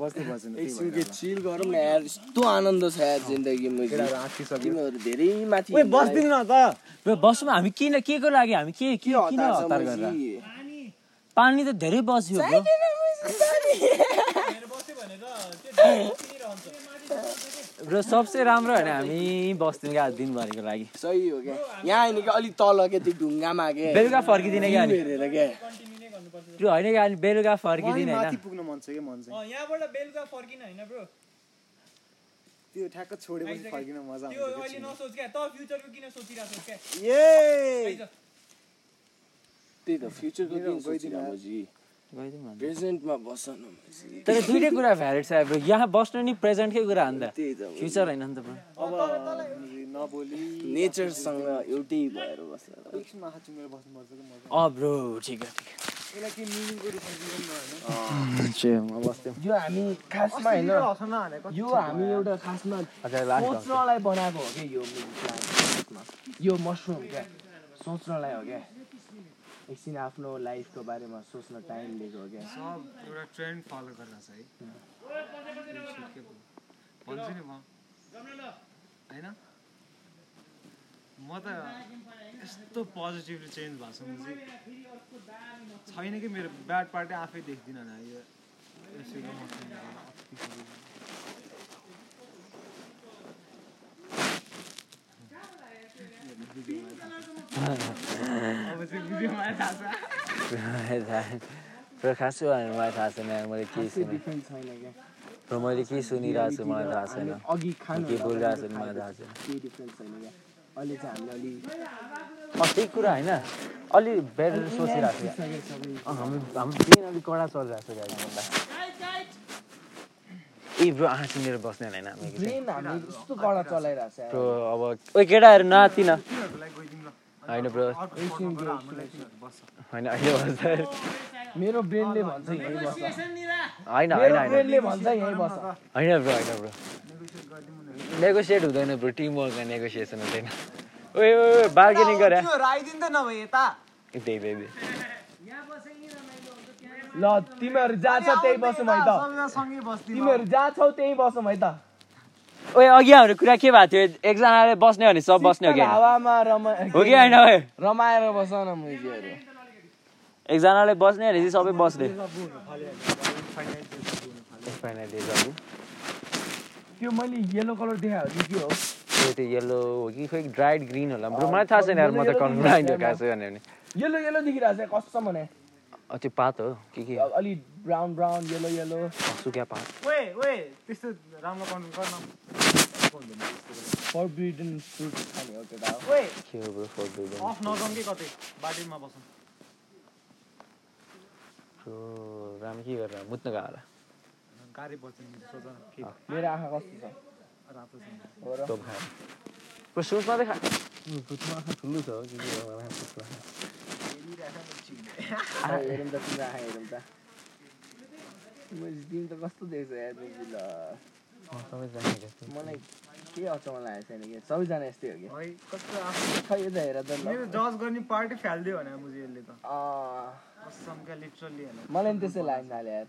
G: बस्नु बस्नु
C: एकछिन के चिल गरौँ न यार यस्तो आनन्द छ यार जिन्दगीमा
G: आँटिसक्यो
C: तिमीहरू धेरै माथि
G: ओए बस्दिन न त
B: बसमा हामी किन के को लागि हामी के
C: के
B: किन
C: हतार छ
B: हतार
C: मुजी?
B: गरेर पानी त धेरै बस्यो ब्रो ब्रो सबसे राम्रो होइन हामी बस्दिन क्या दिनभरिको लागि
C: सही हो क्या यहाँ होइन क्या अलिक तल क्या त्यो ढुङ्गामा क्या
B: बेलुका फर्किदिने क्या
C: view
B: अनि
C: हेरेर क्या
B: त्यो होइन क्या अनि बेलुका फर्किदिने होइन
G: माथि पुग्न मन छ कि मन चाहिँ
B: यहाँबाट बेलुका फर्किन होइन ब्रो
G: त्यो ठ्याक्क छोडेपछि फर्किन मजा
B: त्यो
G: आउँछ
B: अहिले नसोच क्या त फ्युचरको किन सोचिरहेको छौ क्या
C: ए त्यही त फ्युचरको किन सोचिरहेको मुजी प्रेजेन्टमा बस न मुजी
B: तर दुइटै कुरा भ्यालिड छ ब्रो यहाँ बस्नु नि प्रेजेन्टकै कुरा हो नि त
C: त्यही त मुजी।
B: फ्युचर होइन नि त ब्रो
G: अब मुजी नबोली
C: नेचरसँग एउटै भएर बस्न त।
G: एकछिन माखा चुमेर बस्नुपर्छ कि मजा
B: अँ ब्रो ठिक हो ठिक
G: यसलाई के मिनिङको रूपमा दिउँ न होइन
C: यो हामी खासमा होइन
G: हँसन हानेको
C: यो हामी एउटा खासमा सोच्नलाई बनाएको हो कि यो प्लान्टमा यो मसरुम क्या सोच्नलाई हो क्या एकछिन आफ्नो लाइफको बारेमा सोच्न टाइम लिएको हो क्या
A: एउटा ट्रेन्ड फलो गरेर छ है के पो? भन्छु नि म होइन म त यस्तो पोजिटिभली चेन्ज भएको छु म चाहिँ। छैन कि मेरो ब्याड पार्टै आफै देख्दिनँ होला यो यसरी म अति-
B: ब्रो खासै भनेर मलाई थाहा छैन मैले के सुने
C: छैन क्या
B: र मैले के सुनिरहेको छु मलाई थाहा छैन
C: हामीले अघि खानु
B: के बोलिरहेको छु मलाई थाहा छैन
C: केही डिफ्रेन्स छैन क्या अहिले चाहिँ हामीले अलिक
B: अँ त्यही कुरा होइन अलि बेटर सोचिरहेको छु
C: सबै सबै
B: अँ, हाम्रो हाम्रो पेन अलिक कडा चलिरहेको छ गाडीमा ए ब्रो आँखा सुनेर बस्ने होइन हामी कि चाहिँ।
C: ट्रेन हामी यस्तो कडा चलाइरहेको छ
B: ब्रो अब ओइ केटाहरू नआतिन
A: तिनीहरूलाई गइदिउँ ल
B: होइन ब्रो
A: अर्को फोन गरेर हामीलाई तिनीहरू बस्छ
B: होइन अहिले बस्दा
C: मेरो ब्रेनले भन्छ यहीँ बस
B: होइन होइन
C: मेरो
B: होइन
C: ब्रेनले भन्छ यहीँ बस
B: होइन ब्रो होइन ब्रो नेगोसिएट हुँदैन ब्रो टिम वर्कमा नेगोसिएसन हुँदैन ओए ओए ओए बार्गेनिङ गरे ए, दे दे दे
C: ल तिमीहरू जहाँ छ त्यही बसौँ है त तिमीहरू जहाँ छौ त्यही बसौँ है त
B: ओए अघि हाम्रो कुरा के भएको थियो एकजनाले बस्ने हो भने सब बस्ने हो कि होइन?
C: हावामा रमा
B: हो कि होइन ओए
C: रमाएर बस न मुजीहरू
B: एकजनाले बस्ने भने चाहिँ सबै बस्ने Finite days of boom.
C: त्यो मैले येलो कलर देखाएको थिएँ कि हो
B: ए, त्यो येल्लो हो कि खोइ ड्राइड ग्रिन होला ब्रो मलाई थाहा छैन यार म त कन्फ्युज आइन्छु खासै भन्यो भने
C: येलो येलो देखिरहेको छ कसम भने
D: अँ, त्यो पात हो के के
C: अब अलि ब्राउन ब्राउन येलो येलो
D: सुकिया पात
A: ओए ओए त्यस्तो राम्रो कन्टेन्ट गर्न
C: फरबिडन फ्रुट खाने हो केटा हो
A: ओए
D: के हो ब्रो फोर
A: अफ नजाउँ कि कतै बाटोमा बसौँ
D: राम के गरेर मुत्न गएको होला
A: गाडी बच्नु सोच न, के
C: मेरो आँखा कस्तो छ
A: रातो छ
C: हो र
D: तोप खाएर ब्रो सुस मात्रै खा
K: ठुलो छ के के हो, होला।
C: आँखा हेरौँ त तिम्रो आँखा हेरौँ त मैले तिमी त कस्तो देख्छ यार तिमी ल
D: अँ, सबैजना हेरेको।
C: मलाई के अचम्म लागेको छैन कि सबैजना यस्तै हो कि
A: भाइ कस्तो आफ्नो
C: खै यो त हेर त ल।
A: मेरो जज गर्ने पार्टी फालिदियो भने मुझे यसले त
C: अँ,
A: कसमका लिटरली होइन
C: मलाई पनि त्यस्तै लाग्न थाल्यो यार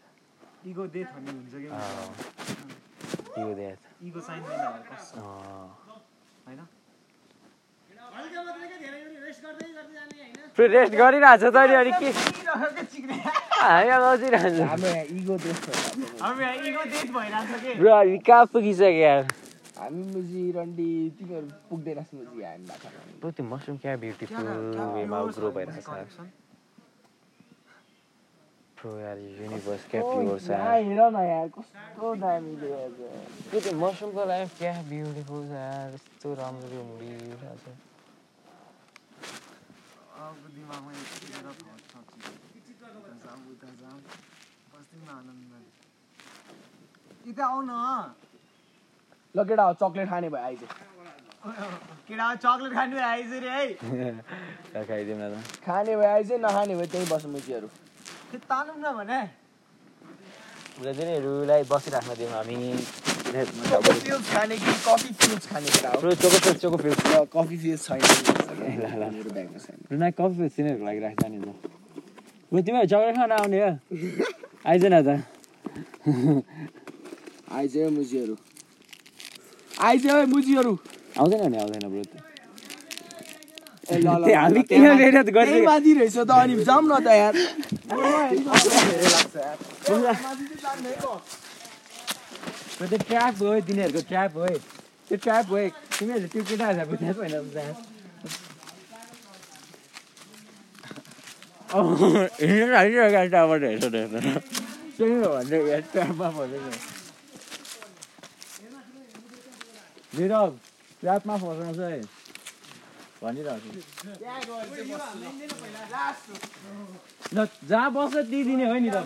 A: इगो डेथ भन्ने हुन्छ कि
D: अँ, यो देख।
A: इगो चाहिँदैन होला कसम
D: अँ।
A: होइन
D: ब्रो रेस्ट गरिरहेको छ त अनि अनि के हामी आउँछिरहन्छ
C: हाम्रो यहाँ इगो त्यस्तो हो अब।
A: अब यहाँ इगो डेथ भइरहेको छ कि
D: ब्रो हामी कहाँ पुगिसक्यो यार
C: हामी मुजी रन्डी तिमीहरू पुग्दैनस् मुजी हामी भाका खानु।
D: ब्रो त्यो मसरुम क्या ब्युटिफुल वेमा ग्रो भइरहेको छ ब्रो यार युनिभर्स क्या प्योर छ
C: यहाँ हेर न यार कस्तो दामी देखेको छ।
D: त्यो त्यो मसरुमको लाइफ क्या ब्युटिफुल छ यार यस्तो राम्रो मिलिरहेको छ
A: अब दिमागमा यतिखेर थट सक्छ उता जाम उता जाम बस्तीमा आनन्द यता आऊ न
C: ल केटा हो चक्लेट खाने भयो आइज
A: केटा चक्लेट खानु आएछ रे है
D: ल खाइदिउँ न त
C: खाने भयो आइज नखाने भयो त्यहीँ बस मुजीहरू
A: त्यो तानौँ न भने
D: ब्रजनीहरूलाई बसिराख्न दिउँ हामी
C: चोको फ्युज खाने कि कफी फ्युज खाने केटा हो
D: bro choco fresh choco fresh
C: ल कफी फ्युज छैन मेरो ब्यागमा छैन
D: रुना कफी फ्रेस तिनीहरूको लागि राख्दा नि त ब्रो तिमीहरू चक्लेट खान आउने हो आइज न त
C: आइज है मुजीहरू आइज है मुजीहरू
D: आउँदैन भने आउँदैन ब्रो
C: ए ल ल
D: ए, हामी
C: ल,
D: किन
C: त्यहाँ
D: मेहनत
C: माथि-
D: गर्ने?
C: त्यहीँ माथि रहेछ त अनि जाम न त यार धेरै लाग्छ यार
D: त्यो त ट्र्याप हो तिनीहरूको ट्र्याप हो त्यो ट्र्याप हो तिमीहरूले त्यो केटाहरूलाई बुझ्दै छैन हिँडिरहेको हेर्छ त्यही हो
B: Oh,
D: भन्दै यहाँ ट्र्यापमा फसेको निरव ट्र्यापमा फसाउँछ है भनिरहेको छु ल जहाँ बस्छ त्यही दिने हो नि त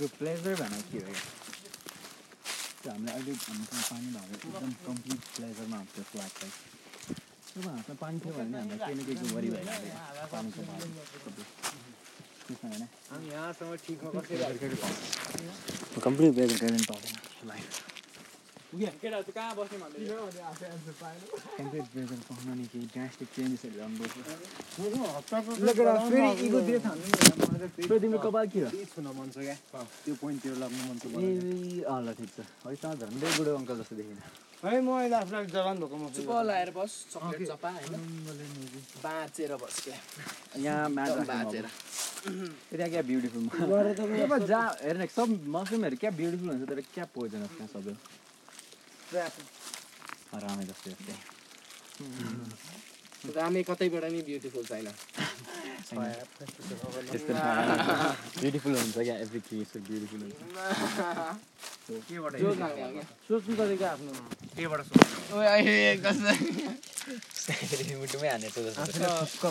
B: यो प्लेजर भनेको के हो त्यो हामीलाई अहिले हामीसँग पानी भएको एकदम कम्प्लिट प्लेजरमा आउँछ जस्तो लाग्छ जब हामीसँग पानी थियो भने हामीलाई केही न केहीको वरि भइरहेको थियो पानीको बारेमा त्यसमा होइन
D: कम्प्लिट
B: प्लेजर कहिले पनि पाउँदैन लाइफ कम्प्लिट प्लेजर पाउन नि केही ड्रास्टिक चेन्जेसहरू ल्याउनुपर्छ
G: फेरि इगो दिएछ
B: तर तिम्रो कपाल के हो
G: छुन मन छ क्या त्यो पोइन्टतिर लाग्नु मन छ
B: ए अँ ल ठिक छ है त झन्डै बुढो अङ्कल जस्तो देखिन
G: है म अहिले आफ्नो जवान भएको म
C: चुप लगाएर बस चक्लेट चपा होइन बाँचेर बस क्या
B: यहाँ म्याट
C: बाँचेर
B: यता क्या ब्युटिफुल जा हेर्न सब मसरुमहरू क्या ब्युटिफुल हुन्छ तर क्या पोइजन क्या सबै रामे जस्तै जस्तै
C: रामे कतैबाट नि ब्युटिफुल छैन
B: त्यस्तो ब्युटिफुल हुन्छ क्या एभ्री केस ब्युटिफुल हुन्छ
C: जो लाग्ने हो क्या
B: सोच्नु पऱ्यो क्या आफ्नो
D: मुटुमै हानेको जस्तो छ।
C: अँ,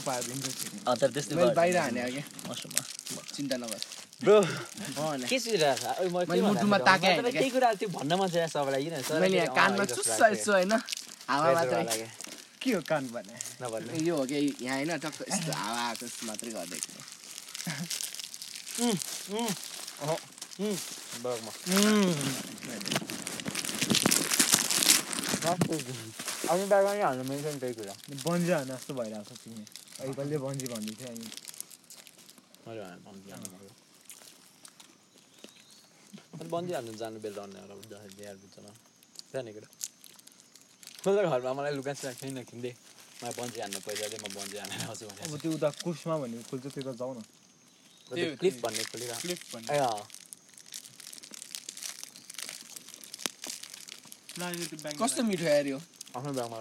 C: तर त्यस्तो गर्छ। मसरुममा। चिन्ता नगर।
D: ब्रो
C: अँ, भने।
D: के सोचिरहेको छ ओइ, म
C: मैले
D: के भन्नु
C: मुटुमा
D: आएको
C: ताकेँ
D: थिएँ? मलाई
C: होइन
D: त्यही कुरा त्यो भन्न मन छैन सबैलाई किन सबैलाई
C: मैले यहाँ
D: त्यही
C: कानमा
D: अँ,
C: चुस्स
D: लाग्छ।
C: यसो होइन हावा
D: प्रेसर वाला
C: मात्रै
D: क्या।
A: के हो कान भने
D: नभन्नु।
C: यो हो कि यहाँ होइन टक्क यस्तो हावा आएको जस्तो मात्रै गरिदिएको
D: अनि बाबा नि हाल्नु मन छैन त्यही कुरा
A: बन्जी हाने जस्तो भइरहेको छ तिमी अहिले बन्जी भन्दै थियो अनि
B: बनिदिइहाल्नु जानु बेला अन्य दिइहाल्नु बिचमा जाने कुरा मलाई घरमा मलाई लुगास राख्ने नकिन्दे मलाई बन्जी हान्नु पैसा दे म बन्जी हानेर आउँछु
G: अब त्यो उता कुर्समा भन्ने खोल्छ त्यो त जाउँ न
B: भनेर क्लिप भन्ने खोलेर ए अँ
L: कस्तो मिठो आयो
B: आफ्नो ब्यागमा